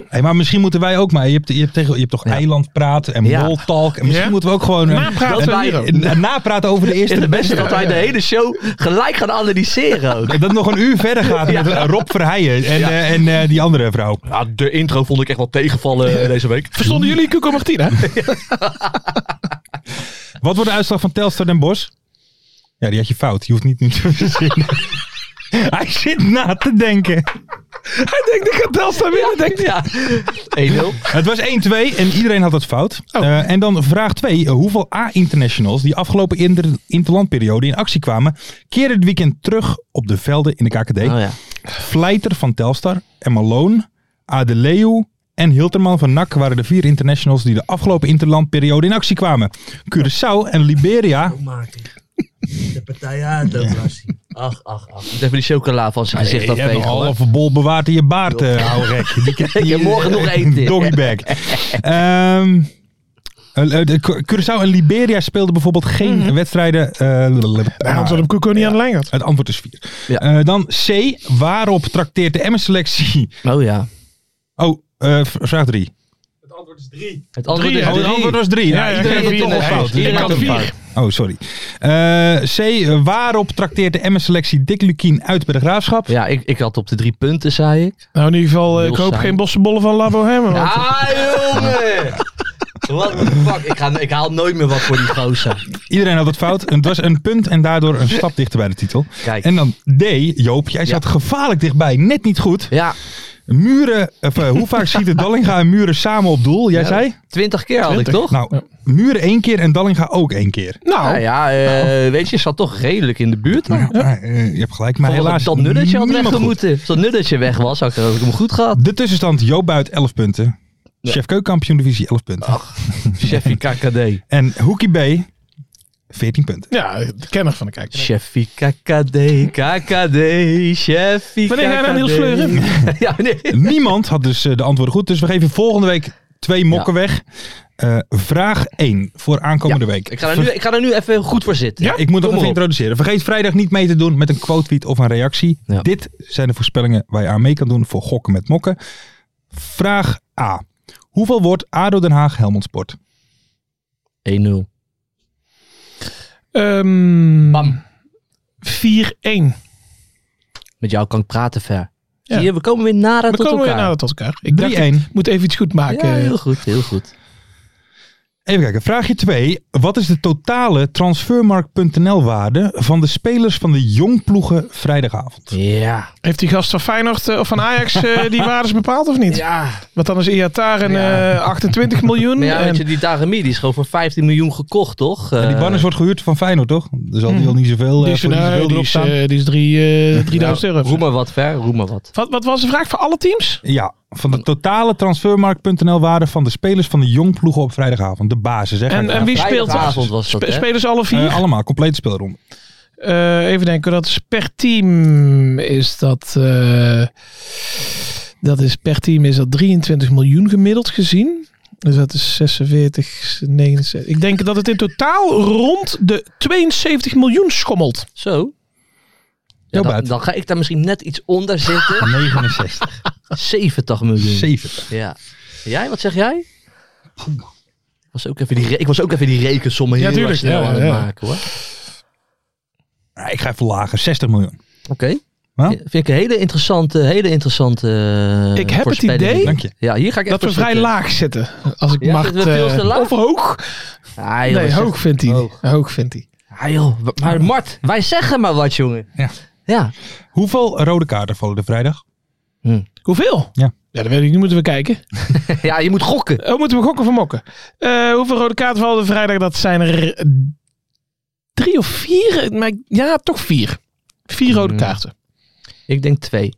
S3: Hey, maar misschien moeten wij ook maar. Je hebt, je hebt, tegen, je hebt toch eilandpraat en
S5: Ja.
S3: moltalk. En misschien
S4: Ja.
S3: moeten we ook gewoon. eh,
S4: Napraten
S3: en-
S5: hier ook.
S3: en- en napraten over de eerste. de
S5: Is het beste
S3: beste.
S5: dat wij de hele show gelijk gaan analyseren ook.
S3: Dat het nog een uur verder gaat met eh, Rob Verheijen en, eh, en eh, die andere vrouw.
S5: Ja, de intro vond ik echt wel tegenvallen eh, deze week.
S4: Verstonden jullie Cuco Martina?
S3: Wat wordt de uitslag van Telstar Den Bos? Ja, die had je fout. Je hoeft niet nu te verzinnen. Hij zit na te denken.
S4: Hij denkt, ik ga Telstar winnen. Denkt hij.
S5: Ja, 1-0.
S3: Het was 1-2 en iedereen had het fout.
S4: Oh.
S3: Eh, en dan vraag 2. hoeveel A-internationals die afgelopen inter interlandperiode in actie kwamen, keerden het weekend terug op de velden in de KKD?
S5: Oh ja.
S3: Vlijter van Telstar en Malone, Adeleu en Hilterman van NAC waren de vier internationals die de afgelopen interlandperiode in actie kwamen. Curaçao en Liberia.
S5: Maarten. De partij Ach, ach, ach. Moet even die chocola van zijn gezicht
S3: Je hebt een
S5: afvegen. hoor.
S3: halve bol bewaard in je baard, eh ouwe gek. Die, die,
S5: Je morgen nog eten.
S3: Doggybag. Ehm, eh, eh, de Cu- Curaçao en Liberia speelden bijvoorbeeld geen
S5: Mhm.
S3: wedstrijden. eh,
S4: Waarom zou hem Cuco niet aan de lijn gaat?
S3: het antwoord is 4.
S5: Ja.
S3: dan C. Waarop trakteert de Emmen-selectie?
S5: Oh ja.
S3: Oh, eh, v- vraag 3.
S5: Het antwoord
S4: Drie,
S5: is
S4: hè?
S3: Oh, het
S5: drie.
S3: antwoord was 3.
S4: Ja, iedereen
S5: had
S3: toch
S5: vier.
S3: al fout.
S5: Iedereen
S3: Dus
S5: had
S3: ik
S5: vier.
S3: fout. Oh, sorry. Eh, C. eh, Waarop trakteert de Emmen-selectie Dick Lukien uit bij de Graafschap?
S5: Ja, ik, ik had op de drie punten, zei ik.
S4: Nou, in ieder geval, eh,
S5: Heel
S4: ik hoop
S5: saai.
S4: geen bossenbollen van La Bohème. want-
S5: Ah, jongen! What the fuck? Ik, ga, ik haal nooit meer wat voor die gozer.
S3: Iedereen had het fout. Het was een punt en daardoor een stap dichter bij de titel.
S5: Kijk.
S3: En dan D, Joop, jij zat gevaarlijk dichtbij. Net niet goed.
S5: Ja,
S3: Muren, of, eh, hoe vaak schieten Dallinga en Muren samen op doel? Jij
S5: Ja.
S3: zei?
S5: twintig keer had ik
S4: Twintig.
S5: toch?
S3: Nou, Muren één keer en Dallinga ook één keer.
S5: Nou ja, eh, weet je, zat toch redelijk in de buurt. Dan.
S3: Nou, maar, eh, je hebt gelijk, maar
S5: Volgens
S3: helaas
S5: dat nulletje had
S3: niemand
S5: weg
S3: goed.
S5: moeten. Als dat nulletje weg was, had ik, had ik hem goed gehad.
S3: De tussenstand, Joop buit 11 punten.
S5: Ja.
S3: Chef Keuk kampioen divisie 11 punten.
S5: Cheffie KKD.
S3: En Hoekie B 14 punten.
S4: Ja, de kenner van de kijker.
S5: Cheffie KKD, KKD, Cheffie
S4: Wanneer ga je naar Niels Fleuren?
S5: ja, nee.
S3: Niemand had dus eh, de antwoorden goed. Dus we geven volgende week twee mokken weg. Eh, vraag 1 voor aankomende week.
S5: Ik ga, er nu, ik ga er nu even goed voor zitten.
S3: Ja, ik moet nog
S5: Kom
S3: even
S5: maar op.
S3: introduceren. Vergeet vrijdag niet mee te doen met een quote tweet of een reactie.
S5: Ja.
S3: Dit zijn de voorspellingen waar je aan mee kan doen voor gokken met mokken. Vraag A. Hoeveel wordt ADO Den Haag Helmond Sport?
S5: 1-0.
S4: Ehm,
S5: Bam.
S4: 4-1.
S5: Met jou kan ik praten ver.
S4: Ja.
S5: Zie je, we komen weer nader
S4: We
S5: tot
S4: komen weer
S5: elkaar.
S4: nader tot elkaar. Ik dacht,
S3: 3-1.
S4: ik moet even iets goed maken.
S5: Ja, heel goed, heel goed.
S3: Even kijken. Vraagje 2. Wat is de totale transfermarkt.nl waarde van de spelers van de jongploegen vrijdagavond?
S5: Ja.
S4: Heeft die gast van Feyenoord eh, of van Ajax eh, die waardes bepaald of niet?
S5: Ja.
S4: Want dan is Iatar een
S5: Ja.
S4: eh, 28 miljoen.
S5: Maar ja,
S4: en-
S5: weet je, die Dagami, die is gewoon voor 15 miljoen gekocht, toch?
S3: En die
S5: Eh, hmm.
S3: Barnes wordt gehuurd van Feyenoord, toch? Er zal die al niet zoveel,
S4: die
S3: eh,
S4: is,
S3: voor niet
S4: nou,
S3: zoveel
S4: die
S3: erop
S4: is,
S3: staan.
S4: eh, die is drie, eh, 3000
S5: nou,
S4: euro.
S5: Roem maar wat ver, roem maar wat.
S4: Wat, wat was de vraag voor alle teams?
S3: Ja, van de totale transfermarkt.nl waarde van de spelers van de jongploegen op vrijdagavond. De basis, hè? ga
S4: En-
S3: ik
S4: en
S3: eraan
S4: wie speelt er?
S5: Vrijdagavond was dat,
S4: Spe-
S5: hè?
S4: spelers alle vier?
S3: Eh, allemaal, complete speelronde.
S4: Eh, even denken, dat is per team is dat. eh, dat is per team is dat 23 miljoen gemiddeld gezien. Dus dat is 46, 69. Ik denk dat het in totaal rond de 72 miljoen schommelt.
S5: Zo.
S3: Jouw
S5: Ja, dan,
S3: buit.
S5: dan ga ik daar misschien net iets onder zitten.
S3: 69.
S5: 70 miljoen.
S3: 70.
S5: Ja. Jij, wat zeg jij? Ik was ook even die, re- ik was ook even die rekensommen heel
S4: Ja,
S5: erg
S4: tuurlijk,
S5: snel
S4: ja,
S5: aan het
S4: ja.
S5: maken, hoor.
S3: Ja, Ah, ik ga even lager, 60 miljoen.
S5: Oké.
S3: Huh?
S5: Ja, Vind ik een hele interessante, hele interessante eh,
S4: Ik heb het
S5: voorspelling.
S4: idee
S3: Dank je.
S5: Ja, hier ga ik echt
S4: Dat we
S5: voor
S4: vrij
S5: zitten.
S4: laag zitten. Als ik
S5: Ja,
S4: mag.
S5: dat we veel
S4: eh,
S5: te laag?
S4: Of hoog.
S5: Ah, joh,
S4: Nee,
S5: wat
S4: hoog vindt hij.
S5: hoog.
S4: Hoog vindt hij.
S5: zegt- Ah, joh, w- Maar Mart, wij zeggen maar wat, jongen.
S3: Ja.
S5: Ja.
S3: Hoeveel rode kaarten vallen er vrijdag?
S4: Hoeveel?
S3: Ja.
S4: Ja, dat weet ik niet. Moeten we kijken.
S5: ja, je moet gokken.
S4: Oh, moeten we gokken van mokken? Eh, hoeveel rode kaarten vallen er vrijdag? Dat zijn er eh, drie of vier. Maar ik- ja, toch vier. Vier rode
S5: Hmm.
S4: kaarten.
S5: Ik denk twee.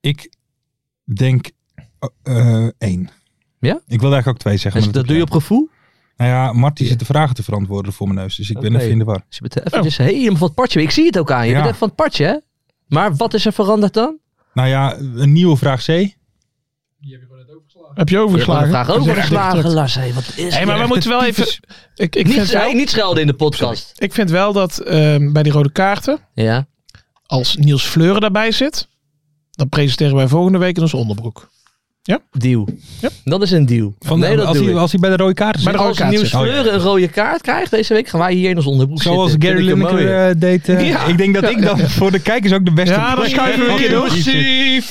S3: Ik denk eh, eh, één.
S5: Ja?
S3: Ik wilde eigenlijk ook twee zeggen.
S5: Dus
S3: maar
S5: dat doe je op gevoel?
S3: Nou ja, Mart die zit de vragen te verantwoorden voor mijn neus, dus ik ben
S5: Oké.
S3: even in de war.
S5: Dus je bent eventjes helemaal van het partje. Ik zie het ook aan je. Je
S3: Ja.
S5: bent echt van het partje, hè? Maar wat is er veranderd dan?
S3: Nou ja, een nieuwe vraag C.
S4: Heb je overgeslagen?
S5: Vraag ook
S4: Dat is
S5: wel
S4: echt
S5: geslagen,
S4: druk.
S5: Lars. Hey, wat is
S4: Hé, maar we
S5: dit?
S4: moeten wel even... Ik, ik,
S5: niet,
S4: vind wel,
S5: hey, niet schelden in de podcast.
S4: ik vind wel dat ehm, bij die rode kaarten,
S5: Ja.
S4: als Niels Fleuren daarbij zit, dan presenteren wij volgende week in ons onderbroek.
S5: Deal.
S4: Ja.
S5: Dat is een deal.
S3: Van,
S5: nee, dat
S3: als,
S5: doe
S3: hij,
S5: ik.
S3: als hij bij de rode kaart zit.
S4: de rode
S5: Als
S4: kaart
S5: Nieuws
S4: zitten.
S5: Fleuren een rode kaart krijgt deze week, gaan wij hier in ons onderbroek
S3: Zoals
S5: zitten.
S3: Gary
S5: Vind ik een
S3: Lineker
S5: mooie.
S3: eh, deed. eh,
S5: Ja.
S3: Ik denk dat ik dan voor de kijkers ook de beste...
S4: Ja, dan schuiven we een keer door.
S5: Lucie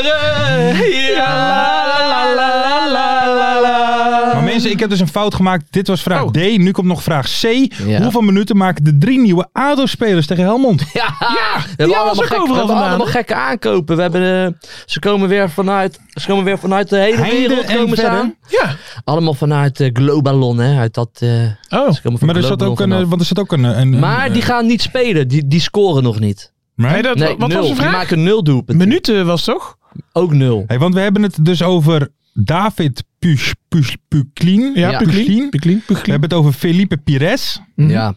S5: Fleuren. Ja, la, la, la, la, la, la.
S3: Maar mensen, ik heb dus een fout gemaakt. Dit was
S4: Oh.
S3: vraag D, nu komt nog vraag C.
S5: Ja.
S3: Hoeveel minuten maken de drie nieuwe ADO-spelers tegen Helmond?
S5: Ja, we
S4: was
S5: hebben, allemaal,
S4: ook
S5: gekke, we
S4: overal
S5: hebben
S4: vandaan,
S5: allemaal
S4: hè?
S5: gekke aankopen. We hebben, eh, ze, komen weer vanuit, ze komen weer vanuit de hele
S3: Heinde
S5: wereld
S3: en
S5: komen ze
S3: verder.
S5: aan.
S4: Ja.
S5: Allemaal vanuit eh, Globalon. Hè, uit dat, eh,
S4: Oh.
S5: ze komen van
S3: Maar er zat
S5: Globalon
S3: ook een, eh,
S5: vanaf.
S3: want er zat ook een... een
S5: maar die gaan niet spelen. Die, die scoren nog niet.
S4: Hey, dat,
S5: Nee,
S4: wat
S5: nul.
S4: was de
S5: Die
S4: vraag?
S5: maken nul doelpunten.
S4: Minuten was het toch?
S5: Ook nul.
S3: Hey, want we hebben het dus over David Puch, Puch, Puklin.
S4: Ja,
S5: Ja.
S4: Puklin. Puklin.
S3: We
S4: Puklin.
S3: hebben het over Felipe Pires.
S4: Mhm.
S5: Ja.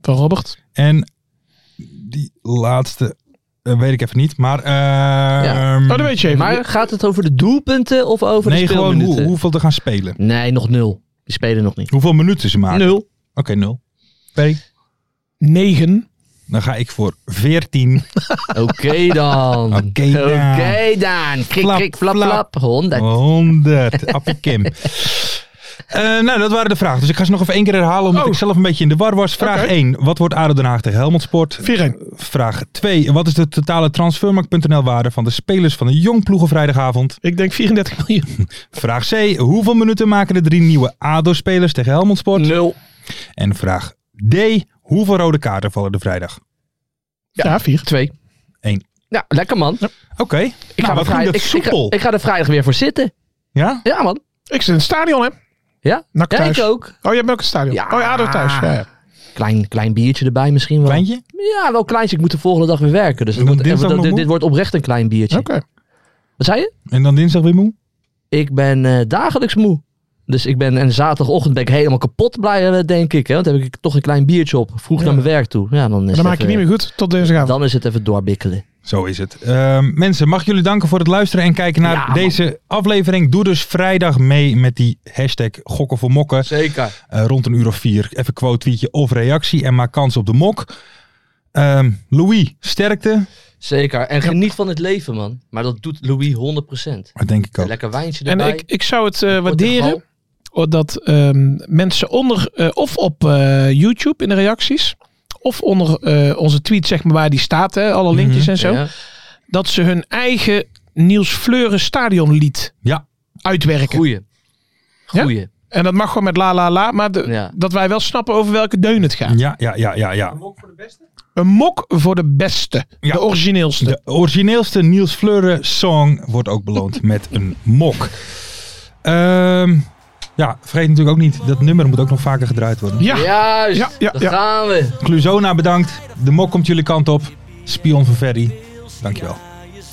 S4: Van Robert.
S3: En die laatste eh, weet ik even niet. Maar... eh,
S5: Ja.
S3: ehm,
S4: Oh, dat weet je even.
S5: Maar gaat het over de doelpunten of over
S3: nee,
S5: de
S3: gewoon
S5: speelminuten?
S3: hoe, hoeveel te gaan spelen.
S5: Nee, nog nul. Die spelen nog niet.
S3: Hoeveel minuten ze maken.
S5: Nul.
S3: Oké, nul. P.
S4: 9.
S3: Dan ga ik voor 14.
S5: Oké dan.
S3: Oké dan.
S5: Oké dan. Krik,
S3: Flap,
S5: krik, flap,
S3: flap.
S5: flap. 100.
S3: 100. Appie Kim. Eh, nou, dat waren de vragen. Dus ik ga ze nog even één keer herhalen, omdat
S4: Oh.
S3: ik zelf een beetje in de war was. Vraag
S4: Oké.
S3: 1. Wat wordt ADO Den Haag tegen Helmond Sport?
S4: 4-1.
S3: Vraag 2. Wat is de totale transfermarkt.nl waarde van de spelers van de jong ploegen vrijdagavond?
S4: Ik denk 34 miljoen.
S3: Vraag C. Hoeveel minuten maken de drie nieuwe ADO-spelers tegen Helmond Sport?
S5: Nul.
S3: En vraag D. Hoeveel rode kaarten vallen er vrijdag?
S4: Ja, 4.
S5: Twee.
S3: Eén.
S5: Ja, lekker man.
S3: Oké.
S5: Ik
S3: Nou, wat
S5: ga, er
S3: ging
S5: vrijdag,
S3: dat
S5: ik, ik ga,
S3: soepel.
S5: ik ga er vrijdag weer voor zitten.
S3: Ja?
S5: Ja, man.
S4: Ik zit in het stadion, hè?
S5: Ja,
S4: Nak
S5: ja
S4: thuis.
S5: ik ook.
S4: Oh, jij bent ook in het stadion.
S5: Ja.
S4: Oh ja, ADO thuis. Ja, ja.
S5: Klein, klein biertje erbij misschien wel.
S3: Kleintje?
S5: Ja, wel kleintje. Ik moet de volgende dag weer werken. Dus
S3: Dan
S5: het wordt,
S3: dinsdag
S5: eh,
S3: nog
S5: dit,
S3: moe?
S5: dit wordt oprecht een klein biertje.
S4: Oké.
S5: Wat zei je?
S3: En dan dinsdag weer moe?
S5: Ik ben eh, dagelijks moe. Dus ik ben, en zaterdagochtend ben ik helemaal kapot blij, eh, denk ik. Hè? Want dan heb ik toch een klein biertje op. Vroeg naar mijn werk toe. Ja, dan is
S4: Dan
S5: het
S4: maak je
S5: Dus even-
S4: niet meer goed tot dinsdagavond.
S5: Dan is het even doorbikkelen.
S3: Zo is het. Ehm, mensen, mag ik jullie danken voor het luisteren en kijken naar
S5: Ja, man.
S3: deze aflevering. Doe dus vrijdag mee met die hashtag gokken voor mokken.
S5: Zeker.
S3: Eh, rond een uur of vier. Even quote, tweetje of reactie en maak kans op de mok. Ehm, Louis, sterkte.
S5: Zeker. En geniet van het leven, man. Maar dat doet Louis 100%.
S3: Dat denk ik ook.
S5: Lekker wijntje
S4: En
S5: erbij.
S4: ik, ik zou het eh,
S5: Portugal.
S4: waarderen dat ehm, mensen onder eh, of op eh, YouTube in de reacties of onder eh, onze tweet zeg maar waar die staat, hè, alle linkjes en zo,
S5: Mhm. Ja.
S4: dat ze hun eigen Niels Fleuren stadionlied
S3: Ja.
S4: uitwerken.
S5: Goeie.
S4: Ja?
S5: Goeie.
S4: En dat mag gewoon met la la la, maar de-
S5: Ja.
S4: dat wij wel snappen over welke deun het gaat.
S3: Ja, ja, ja, ja, ja.
S4: Een mok voor de beste,
S3: Ja.
S4: de origineelste.
S3: De origineelste Niels Fleuren song wordt ook beloond met een mok. Ehm, ja, vergeet natuurlijk ook niet, dat nummer moet ook nog vaker gedraaid worden.
S4: Ja.
S5: Juist,
S4: Ja, ja,
S5: daar
S4: ja.
S5: gaan we.
S3: Cluzona bedankt. De mok komt jullie kant op. Spion van Ferry. Dankjewel.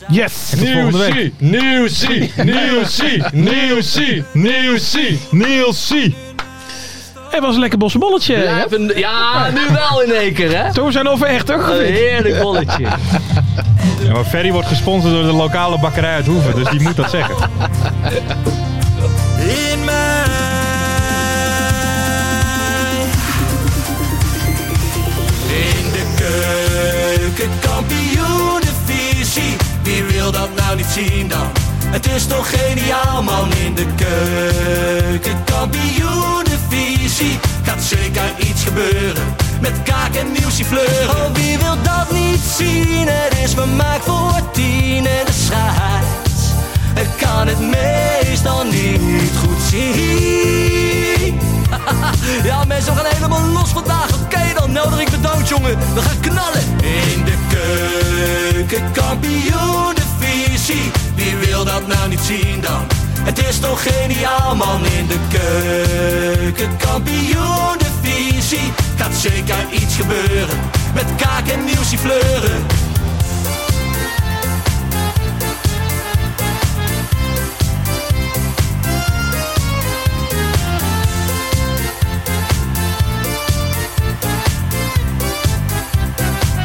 S4: Yes.
S3: En tot volgende week.
S5: Nieuw zie, nieuw zie, nieuw zie, nieuw zie, nieuw zie.
S4: Het was een lekker bossenbolletje. hè?
S5: Ja, nu wel in één keer, hè?
S4: Toen zijn over echt, toch?
S5: Een heerlijk bolletje.
S3: Ja, maar Ferry wordt gesponsord door de lokale bakkerij uit Hoeven, dus die moet dat zeggen.
S8: in mij. In de keuken, kampioen Wie wil dat nou niet zien dan? Het is toch geniaal man in de keuken, kampioen Gaat zeker iets gebeuren met kaak en nieuwsie fleuren. Oh, wie wil dat niet zien? Het is vermaakt voor tien en de scheids. Ik kan het meestal niet goed zien. Ja, mensen, we gaan helemaal los vandaag. Oké dan, nodig ik bedankt, jongen. We gaan knallen. In de keuken, kampioenenvisie. Wie wil dat nou niet zien dan? Het is toch geniaal, man. In de keuken, kampioenenvisie. Gaat zeker iets gebeuren. Met kaak en nieuwsie fleuren.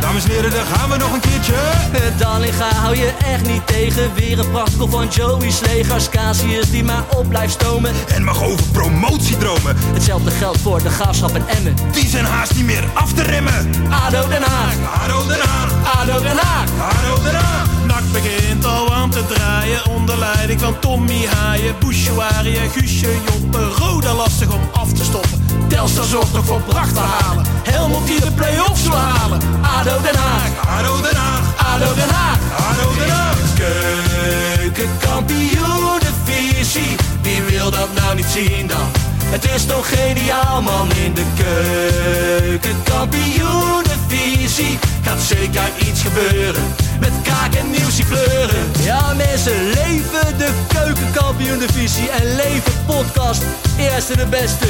S8: Dames en heren, daar gaan we nog een keertje. Het Dallinga hou je echt niet tegen. Weer een prachtkel van Joey's legers. Casius die maar op blijft stomen.
S9: En mag over promotie dromen.
S8: Hetzelfde geldt voor de graafschap en Emmen.
S9: Die zijn haast niet meer af te remmen.
S8: ADO Den Haag,
S9: Haro Den Haag,
S8: ADO Den Haag.
S9: Haro Den Haag.
S10: Nak begint al aan te draaien onder leiding van Tommy Haaien, Bouchouarië, Guusje, Joppe, Roda lastig om af te stoppen.
S8: Telstar zorgt nog voor pracht te halen. Helmond die de play-offs wil halen. ADO Den Haag,
S9: Haro Den Haag,
S8: ADO Den Haag.
S9: Haro Den Haag.
S8: Keukenkampioenenvisie, wie wil dat nou niet zien dan? Het is toch geniaal man in de keukenkampioenenvisie. Gaat zeker iets gebeuren, met kaak en nieuwsie pleuren. Ja mensen, leven de keukenkampioenenvisie en leven podcast. Eerste de beste.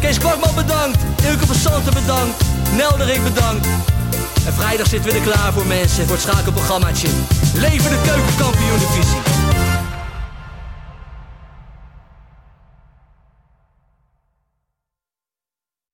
S8: Kees Kwakman bedankt, Ilke van Santen bedankt, Nelderik bedankt. En vrijdag zitten we er klaar voor mensen, voor het schakelprogrammaatje. Leven de keukenkampioen divisie.